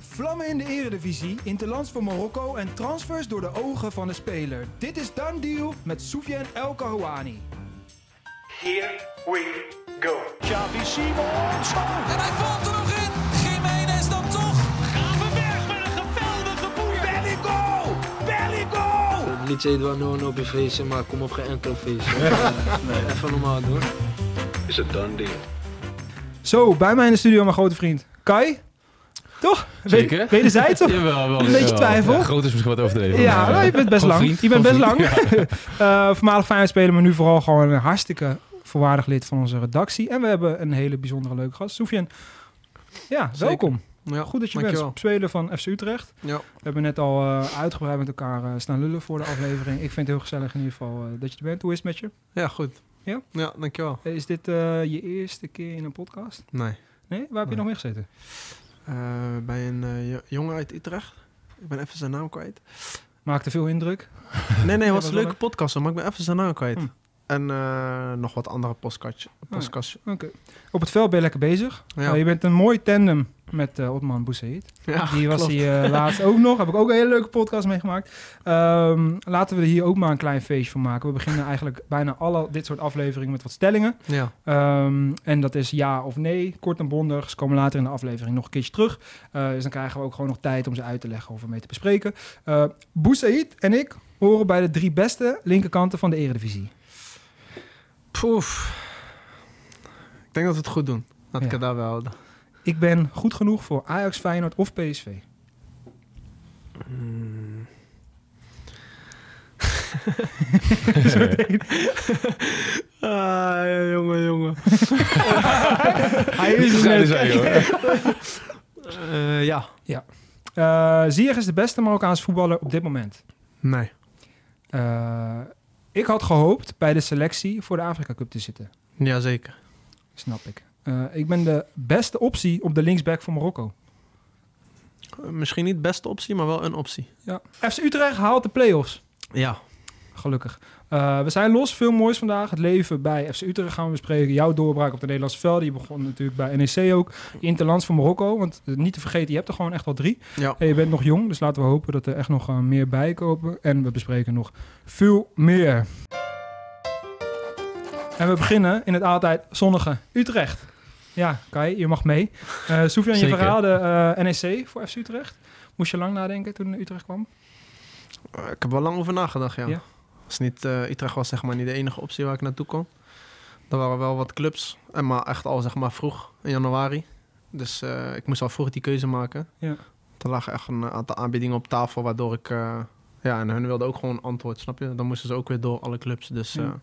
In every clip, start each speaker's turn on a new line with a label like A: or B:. A: Vlammen in de eredivisie, interlands voor Marokko en transfers door de ogen van de speler. Dit is Dan Deal met Soufiane El Kahouani.
B: Here we go.
C: Xavi Simons. Oh,
D: En hij valt er nog in. Jiménez dan toch.
C: Gravenberg met een geweldige boei. Bellico! Bellico!
E: Niet zeggen dat no no op feestje, maar kom op geen enkel feestje. nee. Even normaal doen.
F: is a done deal.
A: Zo, bij mij in de studio mijn grote vriend Kai. Toch?
G: Zeker.
A: Wederzijds? Of?
G: Jawel, wel.
A: Een beetje
G: wel.
A: twijfel.
G: Ja, groot is misschien wat overdreven.
A: Ja,
G: maar,
E: eh,
A: nou, je bent best
G: van
A: lang.
G: vriend,
A: je bent best
G: van
A: lang.
G: vriend.
A: Eh voormalig Feyenoord speler, maar nu vooral gewoon een hartstikke volwaardig lid van onze redactie. En we hebben een hele bijzondere leuke gast. Soufiane, ja, welkom.
E: Ja,
A: Goed dat je
E: dankjewel.
A: bent. Speler van FC Utrecht.
E: Ja.
A: We hebben net al eh, uitgebreid met elkaar eh, staan lullen voor de aflevering. Ik vind het heel gezellig in ieder geval eh, dat je er bent. Hoe is het met je?
E: Ja, goed.
A: Ja?
E: Ja, dankjewel.
A: Eh, Is dit eh, je eerste keer in een podcast?
E: Nee.
A: Nee? Waar heb je
E: Nee.
A: nog mee gezeten?
E: Eh, bij een eh, jo- jongen uit Utrecht. Ik ben even zijn naam kwijt.
A: Maakte veel indruk.
E: Nee, nee,
A: Ja,
E: het was
A: was
E: een
A: wel
E: leuke podcast, maar ik ben even zijn naam kwijt.
A: Hm.
E: En eh, nog wat andere
A: Oh,
E: postcards. Postcards.
A: Op het veld ben je lekker bezig.
E: Ja.
A: Eh, je bent een mooi tandem met eh Otman Boussaïd.
E: Ja,
A: Die was
E: klopt.
A: hier eh, laatst ook nog. Heb ik ook een hele leuke podcast meegemaakt. Ehm, laten we er hier ook maar een klein feestje van maken. We beginnen eigenlijk bijna alle dit soort afleveringen met wat stellingen.
E: Ja.
A: Ehm, en dat is ja of nee, kort en bondig. Ze komen later in de aflevering nog een keertje terug. Eh, dus dan krijgen we ook gewoon nog tijd om ze uit te leggen of er mee te bespreken. Eh Boussaïd en ik horen bij de drie beste linkerkanten van de Eredivisie.
E: Poef. Ik denk dat we het goed doen. Dat ik
A: Ja.
E: het daarbij houden.
A: Ik ben goed genoeg voor Ajax, Feyenoord of PSV.
E: Ah, jongen, jongen.
A: Hij
G: Niet te scheiden zijn, joh.
E: Eh, ja.
A: Eh, Ziyech is de beste Marokkaanse voetballer op dit moment.
E: Nee.
A: Eh, ik had gehoopt bij de selectie voor de Afrika Cup te zitten.
E: Jazeker.
A: Snap ik. Eh, ik ben de beste optie op de linksback voor Marokko.
E: Eh, Misschien niet beste optie, maar wel een optie.
A: Ja. FC Utrecht haalt de play-offs.
E: Ja.
A: Gelukkig. Eh, we zijn los. Veel moois vandaag. Het leven bij FC Utrecht gaan we bespreken. Jouw doorbraak op de Nederlandse velden. Je begon natuurlijk bij NEC ook. Je Interlands voor Marokko. Want eh, niet te vergeten, je hebt er gewoon echt al drie.
E: Ja.
A: En je bent nog jong. Dus laten we hopen dat er echt nog eh, meer bij komen. En we bespreken nog veel meer. En we beginnen in het altijd zonnige Utrecht. Ja, Kai, je mag mee. Eh Sofian, je
G: Zeker.
A: verhaalde eh, NEC voor FC Utrecht. Moest je lang nadenken toen Utrecht kwam?
E: Eh, Ik heb wel lang over nagedacht, ja.
A: Ja?
E: Als niet, eh, Utrecht was zeg maar niet de enige optie waar ik naartoe kon. Er waren wel wat clubs, en maar echt al zeg maar vroeg, in januari. Dus eh, ik moest al vroeg die keuze maken.
A: Ja.
E: Er lagen echt een aantal aanbiedingen op tafel, waardoor ik... eh, ja, en hun wilden ook gewoon een antwoord, snap je? Dan moesten ze ook weer door, alle clubs. Dus
A: Ja.
E: ja,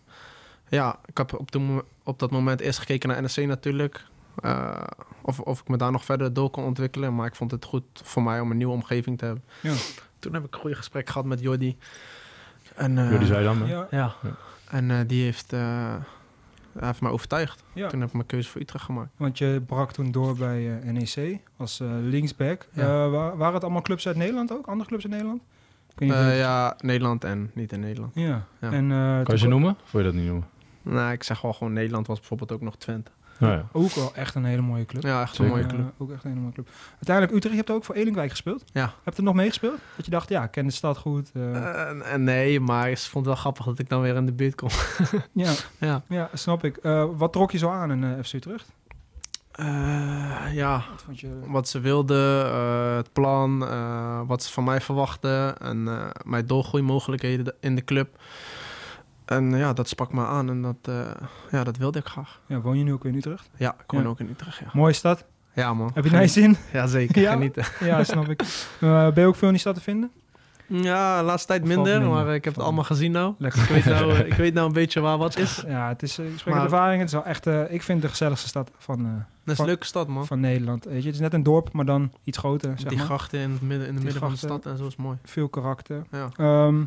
E: ja ik heb op, de mo- op dat moment eerst gekeken naar NEC natuurlijk. Eh, of, of ik me daar nog verder door kon ontwikkelen. Maar ik vond het goed voor mij om een nieuwe omgeving te hebben.
A: Ja.
E: Toen heb ik een goede gesprek gehad met Jordi. En, eh,
G: Jullie zeiden dan. hè?
A: Ja.
E: ja. En eh, die heeft, eh, hij heeft mij overtuigd.
A: Ja.
E: Toen heb ik mijn keuze voor Utrecht gemaakt.
A: Want je brak toen door bij eh, NEC als eh, linksback.
E: Ja.
A: Eh, wa- waren het allemaal clubs uit Nederland ook? Andere clubs uit Nederland? Ik weet niet of
E: Eh,
A: je-
E: ja, Nederland en niet in Nederland.
A: ja.
E: ja.
A: En, eh,
G: Kan
A: toen
G: je ze
A: kwam-
G: noemen? Of wil je dat niet noemen?
E: Nou, ik zeg wel gewoon Nederland was bijvoorbeeld ook nog Twente.
G: Nou ja.
A: Ook wel echt een hele mooie club.
E: Ja, echt een
G: Zeker.
E: mooie
A: Eh,
E: club.
A: ook echt een hele mooie club. Uiteindelijk, Utrecht, je hebt ook voor Elinkwijk gespeeld.
E: Ja.
A: Heb je er nog meegespeeld? Dat je dacht, ja, ik ken de stad goed. eh,
E: Eh, nee, maar ik vond het wel grappig dat ik dan weer in de buurt kom.
A: ja.
E: ja.
A: ja, snap ik. Eh, wat trok je zo aan in eh, FC Utrecht?
E: Eh, ja,
A: Wat vond je...
E: wat ze wilden, eh, het plan, eh, wat ze van mij verwachten en eh, mijn doorgroeimogelijkheden de- in de club. En ja, dat sprak me aan en dat, eh, ja, dat wilde ik graag.
A: Ja, woon je nu ook weer in Utrecht?
E: Ja, ik woon
A: Ja.
E: ook in Utrecht, ja.
A: Mooie stad.
E: Ja, man.
A: Heb je naar je zin?
E: Ja, zeker.
A: Ja?
E: Genieten.
A: ja, snap ik. Eh, ben je ook veel in die stad te vinden?
E: Ja, de laatste tijd
A: Valt
E: minder,
A: minder.
E: maar eh, ik heb het
A: Valt
E: allemaal gezien nou.
A: Lekker.
E: Ik weet nou, eh, ik weet nou een beetje waar wat is.
A: Ja, het is, eh, ik spreek uit
E: Maar-
A: ervaring. Het is wel echt, eh, ik vind het de gezelligste stad van, eh,
E: Dat is
A: Van-
E: een leuke stad, man.
A: van Nederland. Weet je, het is net een dorp, maar dan iets groter, zeg
E: Die
A: maar.
E: grachten in het midden, in het
A: Die
E: midden van de
A: grachten.
E: stad en zo is mooi.
A: Veel karakter.
E: Ja.
A: Ehm,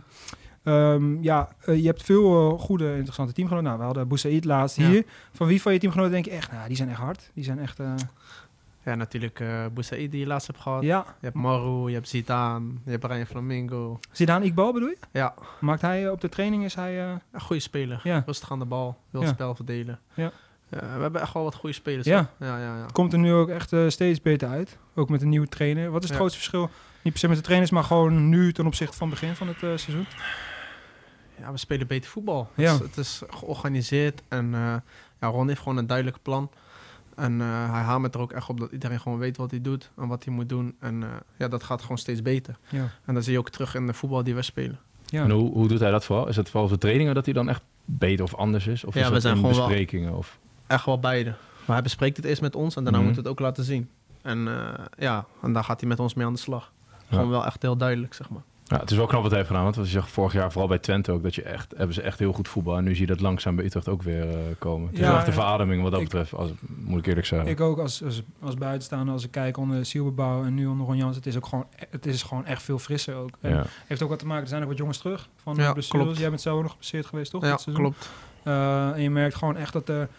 A: ehm, ja, eh, je hebt veel eh, goede, interessante teamgenoten. Nou, we hadden Boussaïd laatst
E: Ja.
A: hier. Van wie van je teamgenoten denk je echt, nou, die zijn echt hard. Die zijn echt, eh,
E: Ja, natuurlijk eh Boussaïd die je laatst hebt gehad.
A: ja.
E: Je hebt Maru, je hebt Zidane, je hebt Ryan Flamingo.
A: Zidane Iqbal bedoel je?
E: Ja,
A: Maakt hij eh, op de training, is hij... eh,
E: een goede speler.
A: ja,
E: Rustig aan de bal, wil het
A: Ja.
E: spel verdelen.
A: Ja.
E: Ja, we hebben echt wel wat goede spelers.
A: Ja.
E: hoor. Ja, ja, ja.
A: Komt er nu ook echt eh, steeds beter uit. Ook met een nieuwe trainer. Wat is het
E: Ja.
A: grootste verschil? Niet per se met de trainers, maar gewoon nu ten opzichte van het begin van het eh, seizoen.
E: ja, we spelen beter voetbal.
A: Ja.
E: Het, is, het is georganiseerd en eh, ja, Ron heeft gewoon een duidelijk plan. En eh, hij hamert er ook echt op dat iedereen gewoon weet wat hij doet en wat hij moet doen. En eh, ja, dat gaat gewoon steeds beter.
A: Ja.
E: En dat zie je ook terug in de voetbal die we spelen.
A: Ja.
G: En hoe, hoe doet hij dat vooral? Is het vooral op de trainingen dat hij dan echt beter of anders is? Of
E: Ja,
G: is
E: we
G: dat
E: zijn
G: in
E: gewoon wel-
G: besprekingen? Of...
E: Echt wel beide. Maar hij bespreekt het eerst met ons en daarna
G: Mhm.
E: moet het ook laten zien. En eh, ja, en daar gaat hij met ons mee aan de slag. Gewoon wel echt heel duidelijk, zeg maar.
G: Ja, het is wel knap wat hij heeft gedaan. Want als je zegt, vorig jaar vooral bij Twente ook, dat je echt, hebben ze echt heel goed voetbal. En nu zie je dat langzaam bij Utrecht ook weer eh, komen. Het is
A: Ja,
G: wel echt een
A: ja.
G: verademing wat dat
A: Ik-
G: betreft, als, moet ik eerlijk zeggen.
A: Ik ook als, als, als buitenstaander, als ik kijk onder Sielbebouw en nu onder Ron Jans, het is ook gewoon, het is gewoon echt veel frisser ook. En
G: ja.
A: Heeft ook wat te maken, er zijn ook wat jongens terug van
E: Ja,
A: ja, blessures.
E: klopt.
A: Jij bent zelf ook nog geblesseerd geweest, toch?
E: ja,
A: dit seizoen?
E: klopt.
A: Eh, en je merkt gewoon echt dat er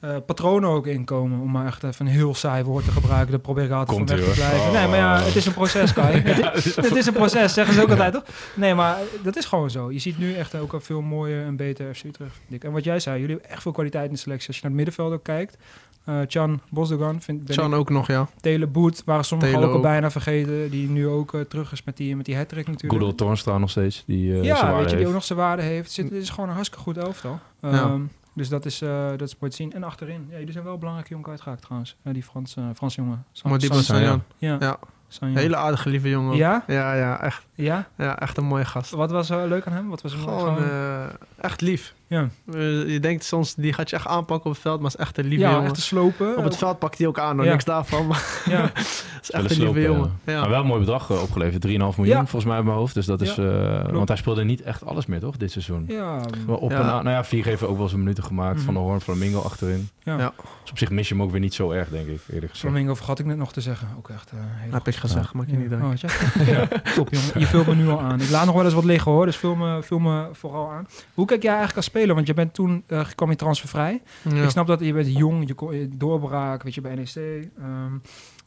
A: eh, patronen ook inkomen. Om maar echt even een heel saai woord te gebruiken. Daar probeer ik altijd
G: Komt
A: van weg
G: ie,
A: te
G: hoor.
A: blijven.
G: Oh.
A: Nee, maar ja, het is een proces, Kai. het, is, het is een proces, zeggen ze ook altijd, toch? Nee, maar dat is gewoon zo. Je ziet nu echt ook een veel mooier en beter FC Utrecht. vind ik. En wat jij zei, jullie hebben echt veel kwaliteit in de selectie. Als je naar het middenveld ook kijkt. eh Chan Bosdogan, vind, ben ik-
E: Sean ook nog, ja.
A: Tele Boet, waren sommigen
E: Tele
A: ook al
E: ook.
A: bijna vergeten. Die nu ook eh, terug is met die, met die hat-trick natuurlijk.
G: Goedel Tornstra nog steeds, die eh zijn
A: Ja,
G: waarde
A: weet je, die
G: heeft.
A: ook nog zijn waarde heeft. Zit- Het is gewoon een hartstikke goed elftal.
E: Ja.
A: Ehm, Dus dat is, eh, dat is mooi te zien. En achterin, ja, jullie zijn wel belangrijk jong kwijtgeraakt trouwens. Ja, die Frans, eh, Frans jongen. San-
E: Maar die
A: San-
E: was
G: Sanjan.
E: Sanjan.
A: ja.
E: ja.
A: Sanjan.
E: Hele aardige, lieve jongen.
A: Ja?
E: Ja, ja, echt,
A: Ja?
E: ja, echt een mooie gast.
A: Wat was eh, leuk aan hem? Wat was hem
E: Oh, Gewoon eh, echt lief.
A: Ja.
E: Eh, je denkt soms, die gaat je echt aanpakken op het veld, maar is echt een lieve
A: ja,
E: jongen.
A: echt te slopen.
E: Op het veld pakt hij ook aan, hoor.
A: Ja.
E: niks daarvan. Maar
A: ja.
E: het is
G: Wel
E: echt
G: een
E: een lieve
G: sloper,
E: jongen.
G: ja.
E: Ja.
G: Maar wel een mooi bedrag eh, opgeleverd. 3,5 miljoen
A: Ja.
G: volgens mij uit mijn hoofd. Dus dat is, eh, want hij speelde niet echt alles meer, toch? Dit seizoen.
A: ja,
G: Wel op
E: Ja.
G: en aan. Nou ja, Vlieg heeft ook wel zijn minuten gemaakt.
A: Mhm.
G: Van de Hoorn, Flamingo achterin.
A: Ja.
E: Ja.
G: Dus op zich mis je hem ook weer niet zo erg, denk ik, eerlijk gezegd.
A: Flamingo vergat ik net nog te zeggen. Ook echt eh heel
E: heb ik gezegd, maak je niet druk.
A: Oh, had je? Top, jongen. Je vult me nu al aan. Ik laat nog wel eens wat liggen hoor, dus vul me, vul me vooral aan. Hoe kijk jij eigenlijk als speler? Want je bent toen, eh kwam je transfervrij.
E: Ja.
A: Ik snap dat je bent jong, je ko- je doorbraak, weet je, bij NEC. ehm,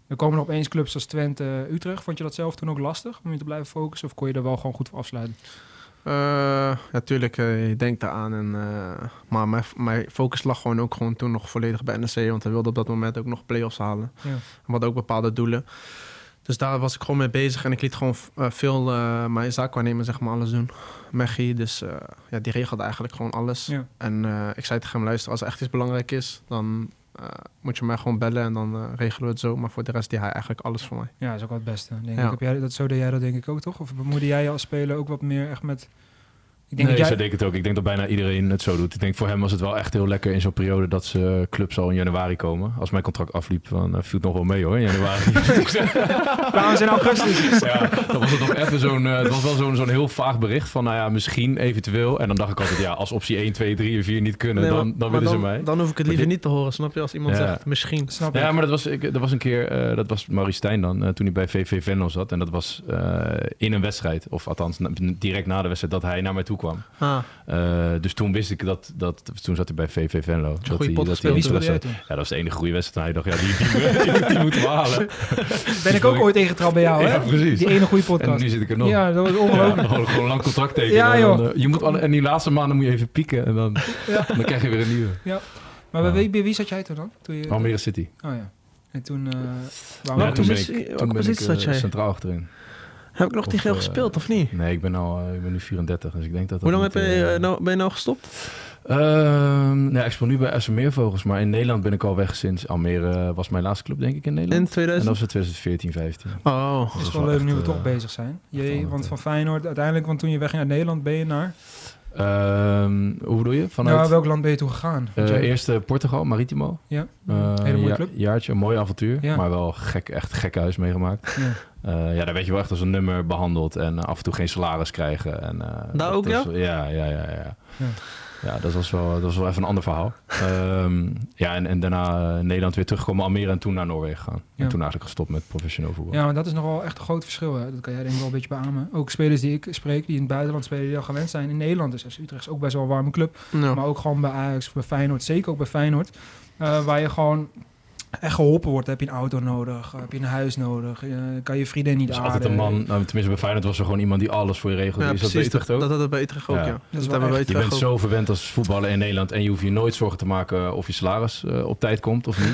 A: er komen er opeens clubs als Twente, Utrecht. Vond je dat zelf toen ook lastig om je te blijven focussen? Of kon je er wel gewoon goed voor afsluiten?
E: Eh, ja, tuurlijk, eh, je denkt daaraan. En, eh, maar mijn, mijn focus lag gewoon ook gewoon toen nog volledig bij NEC. Want hij wilde op dat moment ook nog play-offs halen.
A: Ja.
E: We hadden ook bepaalde doelen. Dus daar was ik gewoon mee bezig. En ik liet gewoon eh, veel eh, mijn zaakwaarnemer zeg maar, alles doen. Mechi, dus eh, ja, die regelde eigenlijk gewoon alles.
A: Ja.
E: En eh, ik zei tegen hem, luister, als er echt iets belangrijk is... dan eh, moet je mij gewoon bellen en dan eh, regelen we het zo. Maar voor de rest deed hij eigenlijk alles voor mij.
A: Ja, dat is ook wel het beste. Denk
E: Ja.
A: ik. Heb jij, dat, zo deed jij dat denk ik ook, toch? Of bemoeide jij je als speler ook wat meer echt met... Ik denk
G: nee,
A: dat
G: zo
A: jij...
G: denk ik het ook. Ik denk dat bijna iedereen het zo doet. Ik denk voor hem was het wel echt heel lekker in zo'n periode dat ze clubs al in januari komen. Als mijn contract afliep, dan eh, viel het nog wel mee hoor, in januari. Dus
A: Trouwens in augustus.
G: ja, dan was het nog even zo'n, eh, het was wel zo'n, zo'n heel vaag bericht van, nou ja, misschien, eventueel. En dan dacht ik altijd, ja, als optie 1, 2, 3 en 4 niet kunnen,
E: Nee, maar-
G: dan, dan
E: maar
G: willen ze mij.
E: Dan hoef ik het
G: Maar
E: liever
G: dit-
E: niet te horen, snap je? Als iemand
G: Ja.
E: zegt, misschien.
A: Snap ik.
G: Ja, maar dat was, ik, dat was een keer, eh, dat was Marie Stijn dan, eh, toen hij bij VV Venlo zat. En dat was eh, in een wedstrijd, of althans na- direct na de wedstrijd, dat hij naar mij toe kwam.
E: Ah,
G: Eh, dus toen wist ik dat, dat, toen zat hij bij VV Venlo. Dat
E: goede
G: hij-
E: pot
G: dat hij
E: gespeeld,
G: die
A: Wie speelde jij
G: wedstrijd-
A: toen?
G: Ja, dat was eh, de enige goede wedstrijd. En hij dacht, ja, die, die, die, die moeten we halen.
A: Ben ik ook ooit tegengetrapt bij jou, hè?
G: Ja, precies.
A: Die ene goede
G: En
A: podcast.
G: nu zit ik er nog.
A: Ja, dat was
G: Ja,
A: ongelooflijk.
G: gewoon, gewoon lang contract tekenen.
A: Ja,
G: En dan,
A: joh.
G: eh, je moet alle, en die laatste maanden moet je even pieken en dan, dan krijg je weer een nieuwe.
A: Maar bij, wie- bij wie zat jij toen dan? Toen je,
G: Almere City.
A: Oh ja. En toen... eh waarom
G: Ja,
E: Welke
G: toen ben
E: positie-
G: ik, toen
E: welke
G: ben ik
E: positie
G: eh,
E: zat jij?
G: centraal achterin.
E: heb ik nog niet
G: Of,
E: heel
G: eh,
E: gespeeld, of niet?
G: Nee, ik ben, al, eh, ik ben nu 34, dus ik denk dat dat
E: Hoe lang heb
G: niet,
E: je,
G: eh,
E: eh, nou, ben je nou gestopt?
G: Ehm, nee, ik speel nu bij Meervogels, maar in Nederland ben ik al weg sinds Almere eh, was mijn laatste club, denk ik, in Nederland.
E: In
G: En dat
E: 2000?
G: was in 2014, 15.
E: Oh,
G: Dat
A: Het is
G: was
A: wel leuk
G: echt,
A: nu we
G: eh,
A: toch bezig zijn. Jee,
G: handig,
A: want
G: ja.
A: van Feyenoord uiteindelijk, want toen je wegging uit Nederland, ben je naar...
G: ehm, hoe bedoel je? Vanuit
A: Nou, welk land ben je toen gegaan?
G: eh,
A: Want jij-
G: eerste Portugal, Maritimo.
A: ja,
G: Eh,
A: hele mooie
G: ja-
A: club.
G: Jaartje, een mooi avontuur,
A: Ja.
G: maar wel gek, echt gek huis meegemaakt.
A: Ja.
G: Eh, ja, daar werd je wel echt als een nummer behandeld en eh, af en toe geen salaris krijgen. En, eh, dat
E: ook,
G: is- ja? Ja, ja, ja.
A: Ja.
G: ja. dat was wel, dat was wel even een ander verhaal. Ehm, ja, en, en daarna eh, Nederland weer terugkomen, Almere en toen naar Noorwegen gaan.
A: Ja.
G: En toen eigenlijk gestopt met professioneel voetbal.
A: Ja, maar dat is nogal echt een groot verschil. Hè. Dat kan jij denk ik wel een beetje beamen. Ook spelers die ik spreek, die in het buitenland spelen, die al gewend zijn. In Nederland is FC Utrecht is ook best wel een warme club.
E: nou.
A: Maar ook gewoon bij Ajax, bij Feyenoord, zeker ook bij Feyenoord. eh, waar je gewoon echt geholpen wordt, heb je een auto nodig, eh, heb je een huis nodig, eh, kan je vrienden niet
G: Er is
A: aarden.
G: altijd een man, nou, tenminste bij Feyenoord was er gewoon iemand die alles voor je regelde.
E: Ja,
G: is dat
E: precies.
G: beter
E: Dat,
G: toch?
E: dat hadden we bij Utrecht ook,
G: Ja.
E: ja.
G: Dat
E: Dat,
A: wel
E: hebben we bij
A: echt.
G: Je
E: Utrecht
G: bent
E: ook.
G: zo verwend als voetballer in Nederland en je hoeft je nooit zorgen te maken of je salaris eh, op tijd komt of niet.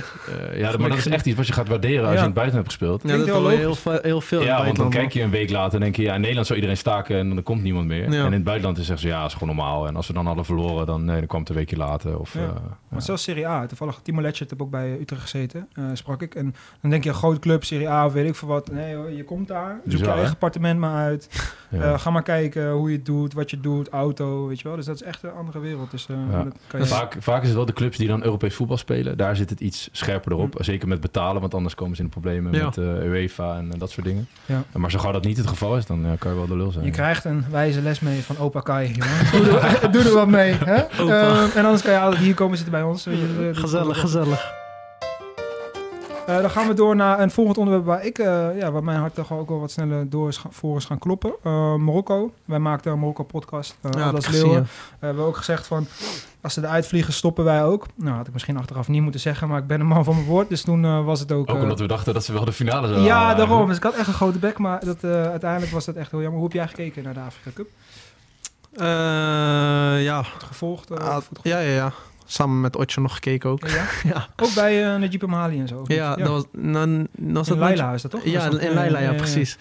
G: Eh, ja, maar dat is echt iets wat je gaat waarderen als je
A: Ja.
G: in het buitenland hebt gespeeld.
E: Ja,
A: Klinkt
E: dat
A: heel
E: hadden we heel,
A: logisch.
E: veel- heel veel
G: Ja,
E: in
G: want
E: het
G: dan
E: buitenland.
G: kijk je een week later en denk je, ja, in Nederland zou iedereen staken en dan komt niemand meer.
E: Ja.
G: En in het buitenland is echt zo, ja, dat is gewoon normaal. En als we dan hadden verloren, dan, nee, dan kwam het een weekje later. Of,
A: Ja.
G: eh,
A: Maar zelfs Serie A, toevallig Timo Letchert heb ook bij eh, Utrecht gezeten, eh, sprak ik. En dan denk je, een grote club, Serie A of weet ik veel wat. Nee hoor, je komt daar, zoek
G: Bizar,
A: je
G: hè?
A: eigen appartement maar uit.
G: ja.
A: Eh, ga maar kijken hoe je het doet, wat je doet, auto, weet je wel. Dus dat is echt een andere wereld. Dus eh,
G: Ja.
A: dat kan je...
G: Vaak, vaak is het wel de clubs die dan Europees voetbal spelen. Daar zit het iets scherper erop.
A: Mm.
G: Zeker met betalen, want anders komen ze in de problemen
E: Ja.
G: met eh, UEFA en eh, dat soort dingen.
A: Ja.
G: Maar zo gauw dat niet het geval is, dan eh, kan je wel de lul zijn.
A: Je krijgt een wijze les mee van opa Kai. jongen. Doe, er, doe er wat mee. Hè? Eh, en anders kan je altijd hier komen zitten bij ons. Eh, je- eh,
E: Gezellig, gezellig.
A: Eh, dan gaan we door naar een volgend onderwerp waar ik, eh, ja, waar mijn hart toch ook wel wat sneller door is, ga- voor is gaan kloppen. Eh, Marokko. Wij maakten een Marokko-podcast. eh
E: Ja,
A: Atlas
E: dat zie
A: Leeuwen.
E: je.
A: Eh, we hebben ook gezegd van, als ze eruit vliegen, stoppen wij ook. Nou, had ik misschien achteraf niet moeten zeggen, maar ik ben een man van mijn woord. Dus toen eh, was het ook...
G: Ook
A: eh,
G: omdat we dachten dat ze wel de finale zouden halen
A: ja, daarom.
G: eigenlijk.
A: Dus ik had echt een grote bek, maar dat, eh, uiteindelijk was dat echt heel jammer. Hoe heb jij gekeken naar de Afrika Cup?
E: Eh, ja.
A: Het gevolgd? eh,
E: Ah,
A: of het
E: ja, ja, ja. Samen met Otje nog gekeken ook.
A: gevolgd? Ja.
E: Ja,
A: Ook bij eh, Najib Amhali en zo. of niet?
E: ja, dat was... Dan, dan was
A: in
E: dat
A: Leila is dat toch?
E: Ja,
A: Dat is dat-
E: in Leila, ja,
A: eh,
E: precies.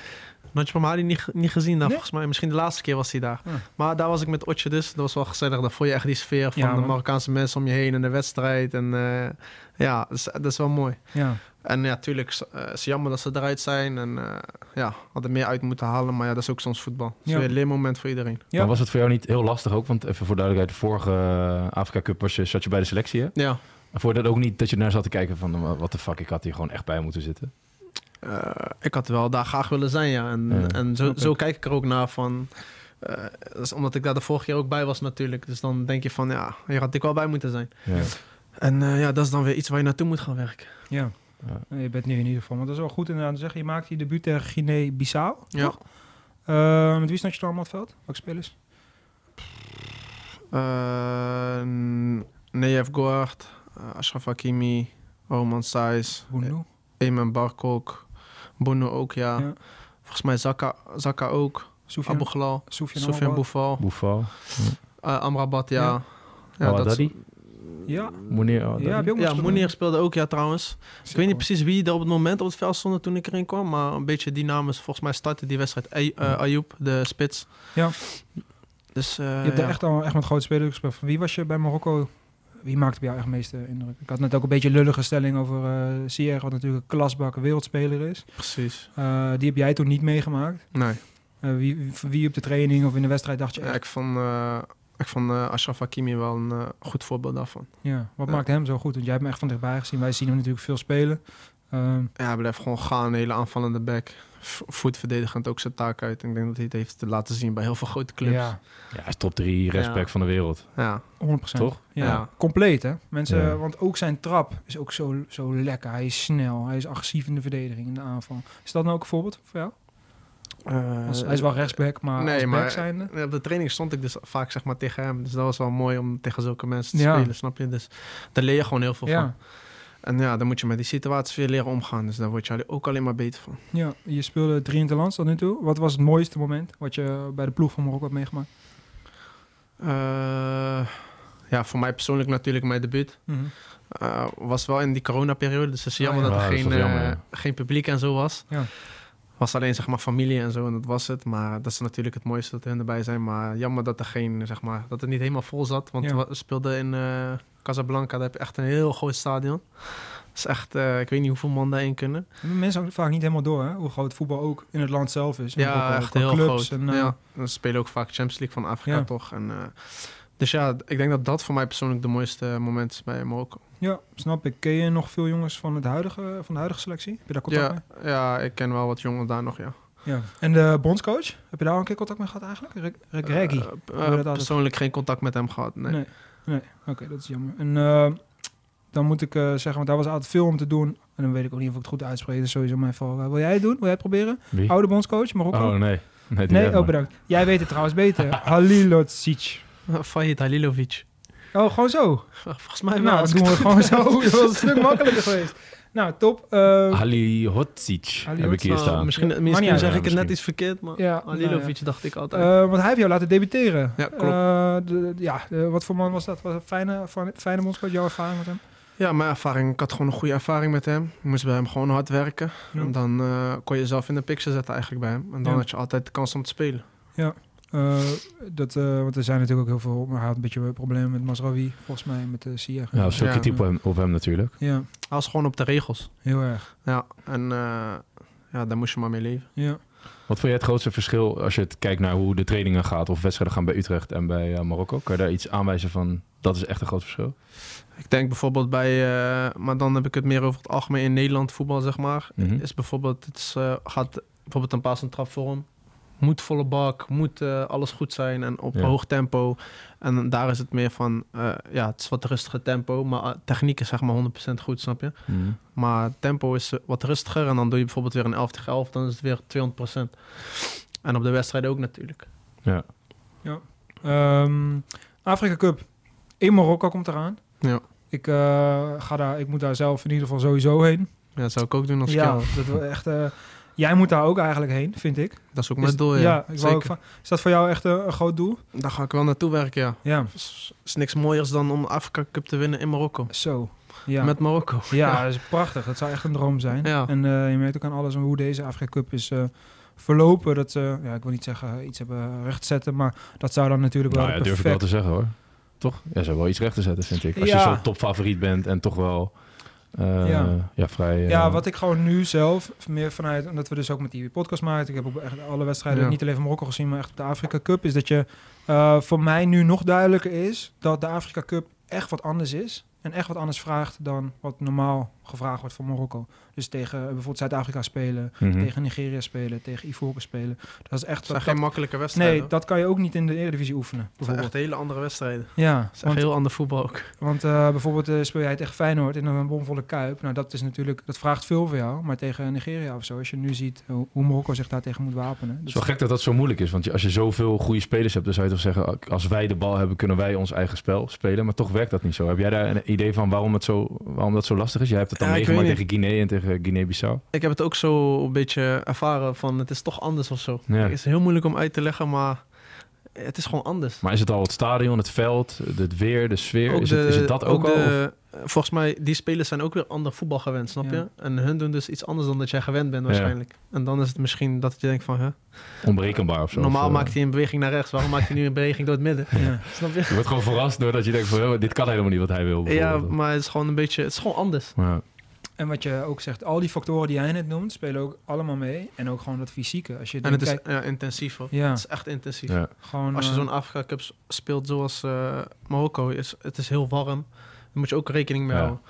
E: Notch Mamadi niet, ge- niet gezien daar,
A: Nee?
E: volgens mij. Misschien de laatste keer was hij daar.
A: Ah.
E: Maar daar was ik met Otje dus. Dat was wel gezellig. Daar voel je echt die sfeer van
A: Ja,
E: de
A: man.
E: Marokkaanse mensen om je heen en de wedstrijd. En eh, ja, dat is, dat is wel mooi.
A: Ja.
E: En ja, tuurlijk, s- eh, het is jammer dat ze eruit zijn. En eh, ja, hadden meer uit moeten halen. Maar ja, dat is ook soms voetbal. Het is
A: Ja.
E: weer een leermoment voor iedereen.
A: Ja.
G: Maar was het voor jou niet heel lastig ook? Want even voor duidelijkheid, de vorige eh, Afrika Cup was je, zat je bij de selectie, hè?
E: Ja,
G: En voor dat ook niet dat je naar zat te kijken van, wat de fuck, ik had hier gewoon echt bij moeten zitten.
E: eh, ik had wel daar graag willen zijn, ja. En,
G: Ja,
E: en zo,
A: snap
E: zo
A: ik.
E: kijk ik er ook naar van... eh, dat is omdat ik daar de vorige keer ook bij was natuurlijk. Dus dan denk je van, ja, hier had ik wel bij moeten zijn.
G: Ja.
E: En eh, ja, dat is dan weer iets waar je naartoe moet gaan werken.
A: Ja.
G: Ja.
A: Nee, Je bent nu in ieder geval. Want dat is wel goed inderdaad te zeggen. Je maakt je debuut tegen Guinea-Bissau.
E: Ja.
A: Eh, met wie stond je dan allemaal op het veld? Welke spelers?
E: Eh, Neyev Goard, eh, Ashraf Hakimi, Roman Saiz,
A: Boendo.
E: Eman Barkok, Bono ook, ja.
A: Ja.
E: Volgens mij Zaka, Zaka ook,
A: Sofian.
E: Abu Ghlal,
A: Sofian
E: Sofian
A: Amrabat.
E: Boufal,
G: Buffal,
E: eh, Amrabat, ja.
A: Ja.
G: Oh,
E: Ja, dat is-
A: Ja.
G: Moneer Al-Adadi.
A: Ja, heb je ook nog
E: ja
A: gespeeld?
E: Mounier speelde ook, ja trouwens. Ik weet niet
A: Zeker.
E: precies wie er op het moment op het veld stond toen ik erin kwam, maar een beetje die namen. Volgens mij startte die wedstrijd Ay- eh, Ayoub, de spits.
A: Ja.
E: Dus, eh,
A: Je hebt
E: ja.
A: er echt, al, echt met grote spelers gespeeld. Van wie was je bij Marokko? Wie maakte bij jou echt de meeste indruk? Ik had net ook een beetje een lullige stelling over eh Sierra, wat natuurlijk een klasbak een wereldspeler is.
E: Precies.
A: Eh, die heb jij toen niet meegemaakt.
E: Nee.
A: Eh, wie, van wie op de training of in de wedstrijd dacht je
E: Ja,
A: echt?
E: ik vond, eh, ik vond eh, Ashraf Hakimi wel een eh, goed voorbeeld daarvan.
A: Ja, wat
E: Ja.
A: maakt hem zo goed? Want jij hebt hem echt van dichtbij gezien. Wij zien hem natuurlijk veel spelen. Ehm,
E: Ja, hij blijft gewoon gaan, een hele aanvallende back. V- Voet verdedigend ook zijn taak uit. Ik denk dat hij het heeft laten zien bij heel veel grote clubs. Ja,
A: Ja,
G: Ja, hij is top 3 rechtsback
E: Ja.
G: van de wereld.
A: 100%.
G: Toch?
A: Ja.
E: Ja.
A: Compleet, hè? Mensen,
G: Ja.
A: Want ook zijn trap is ook zo, zo lekker. Hij is snel, hij is agressief in de verdediging, in de aanval. Is dat nou ook een voorbeeld voor jou?
E: Eh,
A: Want hij is wel rechtsback, maar
E: nee,
A: als
E: maar-
A: back zijnde...
E: op de training stond ik dus vaak zeg maar, tegen hem. Dus dat was wel mooi om tegen zulke mensen te
A: Ja.
E: spelen, snap je? Dus daar leer je gewoon heel veel van.
A: Ja,
E: En ja, dan moet je met die situaties weer leren omgaan. Dus daar word je ook alleen maar beter van.
A: ja, je speelde drie in het land tot nu toe. Wat was het mooiste moment wat je bij de ploeg van Marokko hebt meegemaakt?
E: Eh, ja, voor mij persoonlijk natuurlijk mijn debuut.
A: Mhm.
E: Eh, was wel in die coronaperiode, dus het is
A: Ah,
E: jammer
A: ja.
E: dat er
G: Ah, dat is
E: geen,
G: toch jammer,
E: eh,
G: ja.
E: geen publiek en zo was.
A: Ja.
E: Was alleen zeg maar familie en zo en dat was het. Maar dat is natuurlijk het mooiste dat hun erbij zijn. Maar jammer dat er geen, zeg maar, dat het niet helemaal vol zat. Want
A: Ja.
E: we speelden in eh, Casablanca, daar heb je echt een heel groot stadion. Dat is echt, eh, ik weet niet hoeveel man daarin kunnen.
A: Dat hebben Mensen ook vaak niet helemaal door, hè? Hoe groot voetbal ook in het land zelf is. En ook
E: Ja,
A: wel
E: echt
A: qua
E: heel
A: clubs
E: groot.
A: En, eh,
E: ja. Dan spelen ook vaak Champions League van Afrika
A: Ja.
E: toch. En, eh, dus ja, ik denk dat dat voor mij persoonlijk de mooiste moment is bij Marokko.
A: ja, snap ik. Ken je nog veel jongens van, het huidige, van de huidige selectie? Heb je daar contact mee?
E: Ja, ja, ik ken wel wat jongens daar nog, ja.
A: Ja. En de bondscoach, heb je daar al een keer contact mee gehad eigenlijk? Rick, Rick Reggie?
E: Eh, eh,
A: dat altijd?
E: persoonlijk geen contact met hem gehad, nee.
A: Nee, Nee. oké, dat is jammer. En eh, dan moet ik eh, zeggen, want daar was altijd veel om te doen. En dan weet ik ook niet of ik het goed uitspreek, dat is sowieso mijn val. Eh, wil jij het doen? Wil jij het proberen?
G: Wie?
A: Oude bondscoach, Marokko?
G: Oh, nee. Nee, die
A: nee,
G: hebben
A: oh
G: we.
A: bedankt. Jij weet het trouwens beter. Halilodzic.
E: Eh, Fayed Halilovic.
A: Oh, gewoon zo?
E: Volgens mij wel.
A: nou,
E: als
A: dat
E: ik
A: doen we
E: het
A: gewoon zo. Dat was een stuk makkelijker geweest. Nou, top. Eh,
G: Halihodzic heb ik hier
E: Nou,
G: staan.
E: Misschien,
A: Ja,
E: misschien
A: maar niet
E: zeg
G: uit.
E: ik het
G: Ja,
E: net
G: misschien.
E: iets verkeerd, maar
A: Ja,
E: ja, Alilovic
A: nou
E: dacht ik altijd.
A: eh, want hij heeft jou laten debuteren.
E: Ja, klopt.
A: Eh, de- ja, eh, wat voor man was dat? Was een fijne, fijne, fijne bondscoach, jouw ervaring met hem?
E: ja, mijn ervaring, ik had gewoon een goede ervaring met hem. Ik moest bij hem gewoon hard werken.
A: Ja.
E: En dan eh, kon je zelf in de picture zetten eigenlijk bij hem. En dan
A: Ja.
E: had je altijd de kans om te spelen.
A: Eh, dat, eh, want er zijn natuurlijk ook heel veel... Maar hij had een beetje problemen met Masraoui, volgens mij, met de Sier.
G: Ja, of zo
E: Ja.
G: kritiek op hem, op hem natuurlijk.
A: Ja,
E: Hij was gewoon op de regels.
A: heel erg.
E: Ja, en eh, ja, daar moest je maar mee leven.
A: Ja.
G: Wat vond jij het grootste verschil als je het kijkt naar hoe de trainingen gaat of wedstrijden gaan bij Utrecht en bij eh, Marokko? Kan je daar iets aanwijzen van dat is echt een groot verschil?
E: Ik denk bijvoorbeeld bij, eh, maar dan heb ik het meer over het algemeen in Nederland voetbal, zeg maar.
G: Mhm.
A: Hm.
E: Is bijvoorbeeld, het is, eh, gaat bijvoorbeeld een paas en trap voor hem. Moet volle bak, moet eh, alles goed zijn en op
G: Ja.
E: hoog tempo. En daar is het meer van, eh, ja, het is wat rustiger tempo, maar eh, techniek is zeg maar 100% goed, snap je? Maar tempo is eh, wat rustiger en dan doe je bijvoorbeeld weer een 11 tegen 11, dan is het weer 200%. En op de wedstrijden ook natuurlijk.
A: Ehm, Afrika Cup in Marokko komt eraan.
E: Ja.
A: Ik, eh, ga daar, ik moet daar zelf in ieder geval sowieso heen.
E: Ja, dat zou ik ook doen als
A: ja,
E: ik jou.
A: dat we echt, eh, jij moet daar ook eigenlijk heen, vind ik.
E: Dat is ook
A: Is-
E: mijn doel, ja.
A: ja, ik wou
E: Zeker.
A: ook van- is dat voor jou echt eh, een groot doel?
E: Daar ga ik wel naartoe werken, ja.
A: Ja,
E: is, is niks mooiers dan om de Afrika Cup te winnen in Marokko.
A: zo. Ja,
E: Met Marokko.
A: ja dat is prachtig. Dat zou echt een droom zijn.
E: Ja.
A: En eh, je merkt ook aan alles hoe deze Afrika Cup is eh, verlopen. Dat, eh, ja, ik wil niet zeggen iets hebben rechtzetten, maar dat zou dan natuurlijk wel
G: Nou ja,
A: de
G: durf ik wel te
A: perfect...
G: zeggen hoor. Toch? Ja, ze hebben wel iets recht te zetten, vind ik. Als je
A: Ja.
G: zo topfavoriet bent en toch wel eh,
A: Ja.
G: ja. vrij... eh,
A: Ja, wat ik gewoon nu zelf meer vanuit, omdat we dus ook met die podcast maken. Ik heb ook echt alle wedstrijden,
E: Ja.
A: niet alleen van Marokko gezien, maar echt de Afrika Cup. Is dat je eh, voor mij nu nog duidelijker is dat de Afrika Cup echt wat anders is. En echt wat anders vraagt dan wat normaal gevraagd wordt van Marokko. Dus tegen eh, bijvoorbeeld Zuid-Afrika spelen,
G: Mhm.
A: tegen Nigeria spelen, tegen Ivoren spelen. Dat is echt.
E: Het zijn
A: Dat,
E: geen makkelijke wedstrijden.
A: nee, dat kan je ook niet in de Eredivisie oefenen.
E: zijn
A: Bijvoorbeeld.
E: echt hele andere wedstrijden.
A: Ja,
E: Het is echt
A: want
E: heel ander voetbal ook.
A: want eh, bijvoorbeeld eh, speel jij tegen Feyenoord in een bomvolle kuip. Nou, dat is natuurlijk, dat vraagt veel van jou. Maar tegen Nigeria of zo, als je nu ziet hoe, hoe Marokko zich daartegen moet wapenen.
G: Het
A: Dat
G: is wel gek dat dat zo moeilijk is. Want je- als je zoveel goede spelers hebt, dan zou je toch zeggen... als wij de bal hebben, kunnen wij ons eigen spel spelen. Maar toch werkt dat niet zo. Heb jij daar een idee van waarom, het zo, waarom dat zo lastig is? Jij hebt het dan
E: Ja, ik
G: meegemaakt
E: weet
G: tegen Guinea en tegen Guinea-Bissau.
E: Ik heb het ook zo een beetje ervaren van het is toch anders of zo.
G: Ja.
E: Het is heel moeilijk om uit te leggen, maar het is gewoon anders.
G: Maar is het al het stadion, het veld, het weer, de sfeer? Is, het, is het dat ook, al? of-
E: de- Volgens mij, die spelers zijn ook weer ander voetbal gewend, snap
A: Ja.
E: je? En hun doen dus iets anders dan dat jij gewend bent waarschijnlijk. En dan is het misschien dat je denkt van, hè,
G: onberekenbaar of zo?
E: normaal
G: Of, eh,
E: maakt hij een beweging naar rechts, waarom maakt hij nu een beweging door het midden?
A: Ja.
E: Snap je?
G: Je wordt gewoon verrast doordat je denkt van... "Oh, dit kan helemaal niet wat hij wil.
E: Ja,
G: bijvoorbeeld.
E: maar het is gewoon een beetje, het is gewoon anders.
G: Ja.
A: En wat je ook zegt, al die factoren die jij net noemt, spelen ook allemaal mee. En ook gewoon dat fysieke. Als je
E: En
A: denkt,
E: het is
A: kijk,
E: ja, intensief hoor.
A: ja,
E: Het is echt intensief.
G: Ja.
A: gewoon,
E: Als je
A: eh,
E: zo'n Afrika Cup s- speelt zoals eh, Marokko, is, het is heel warm. Daar moet je ook rekening mee
G: Ja.
E: houden.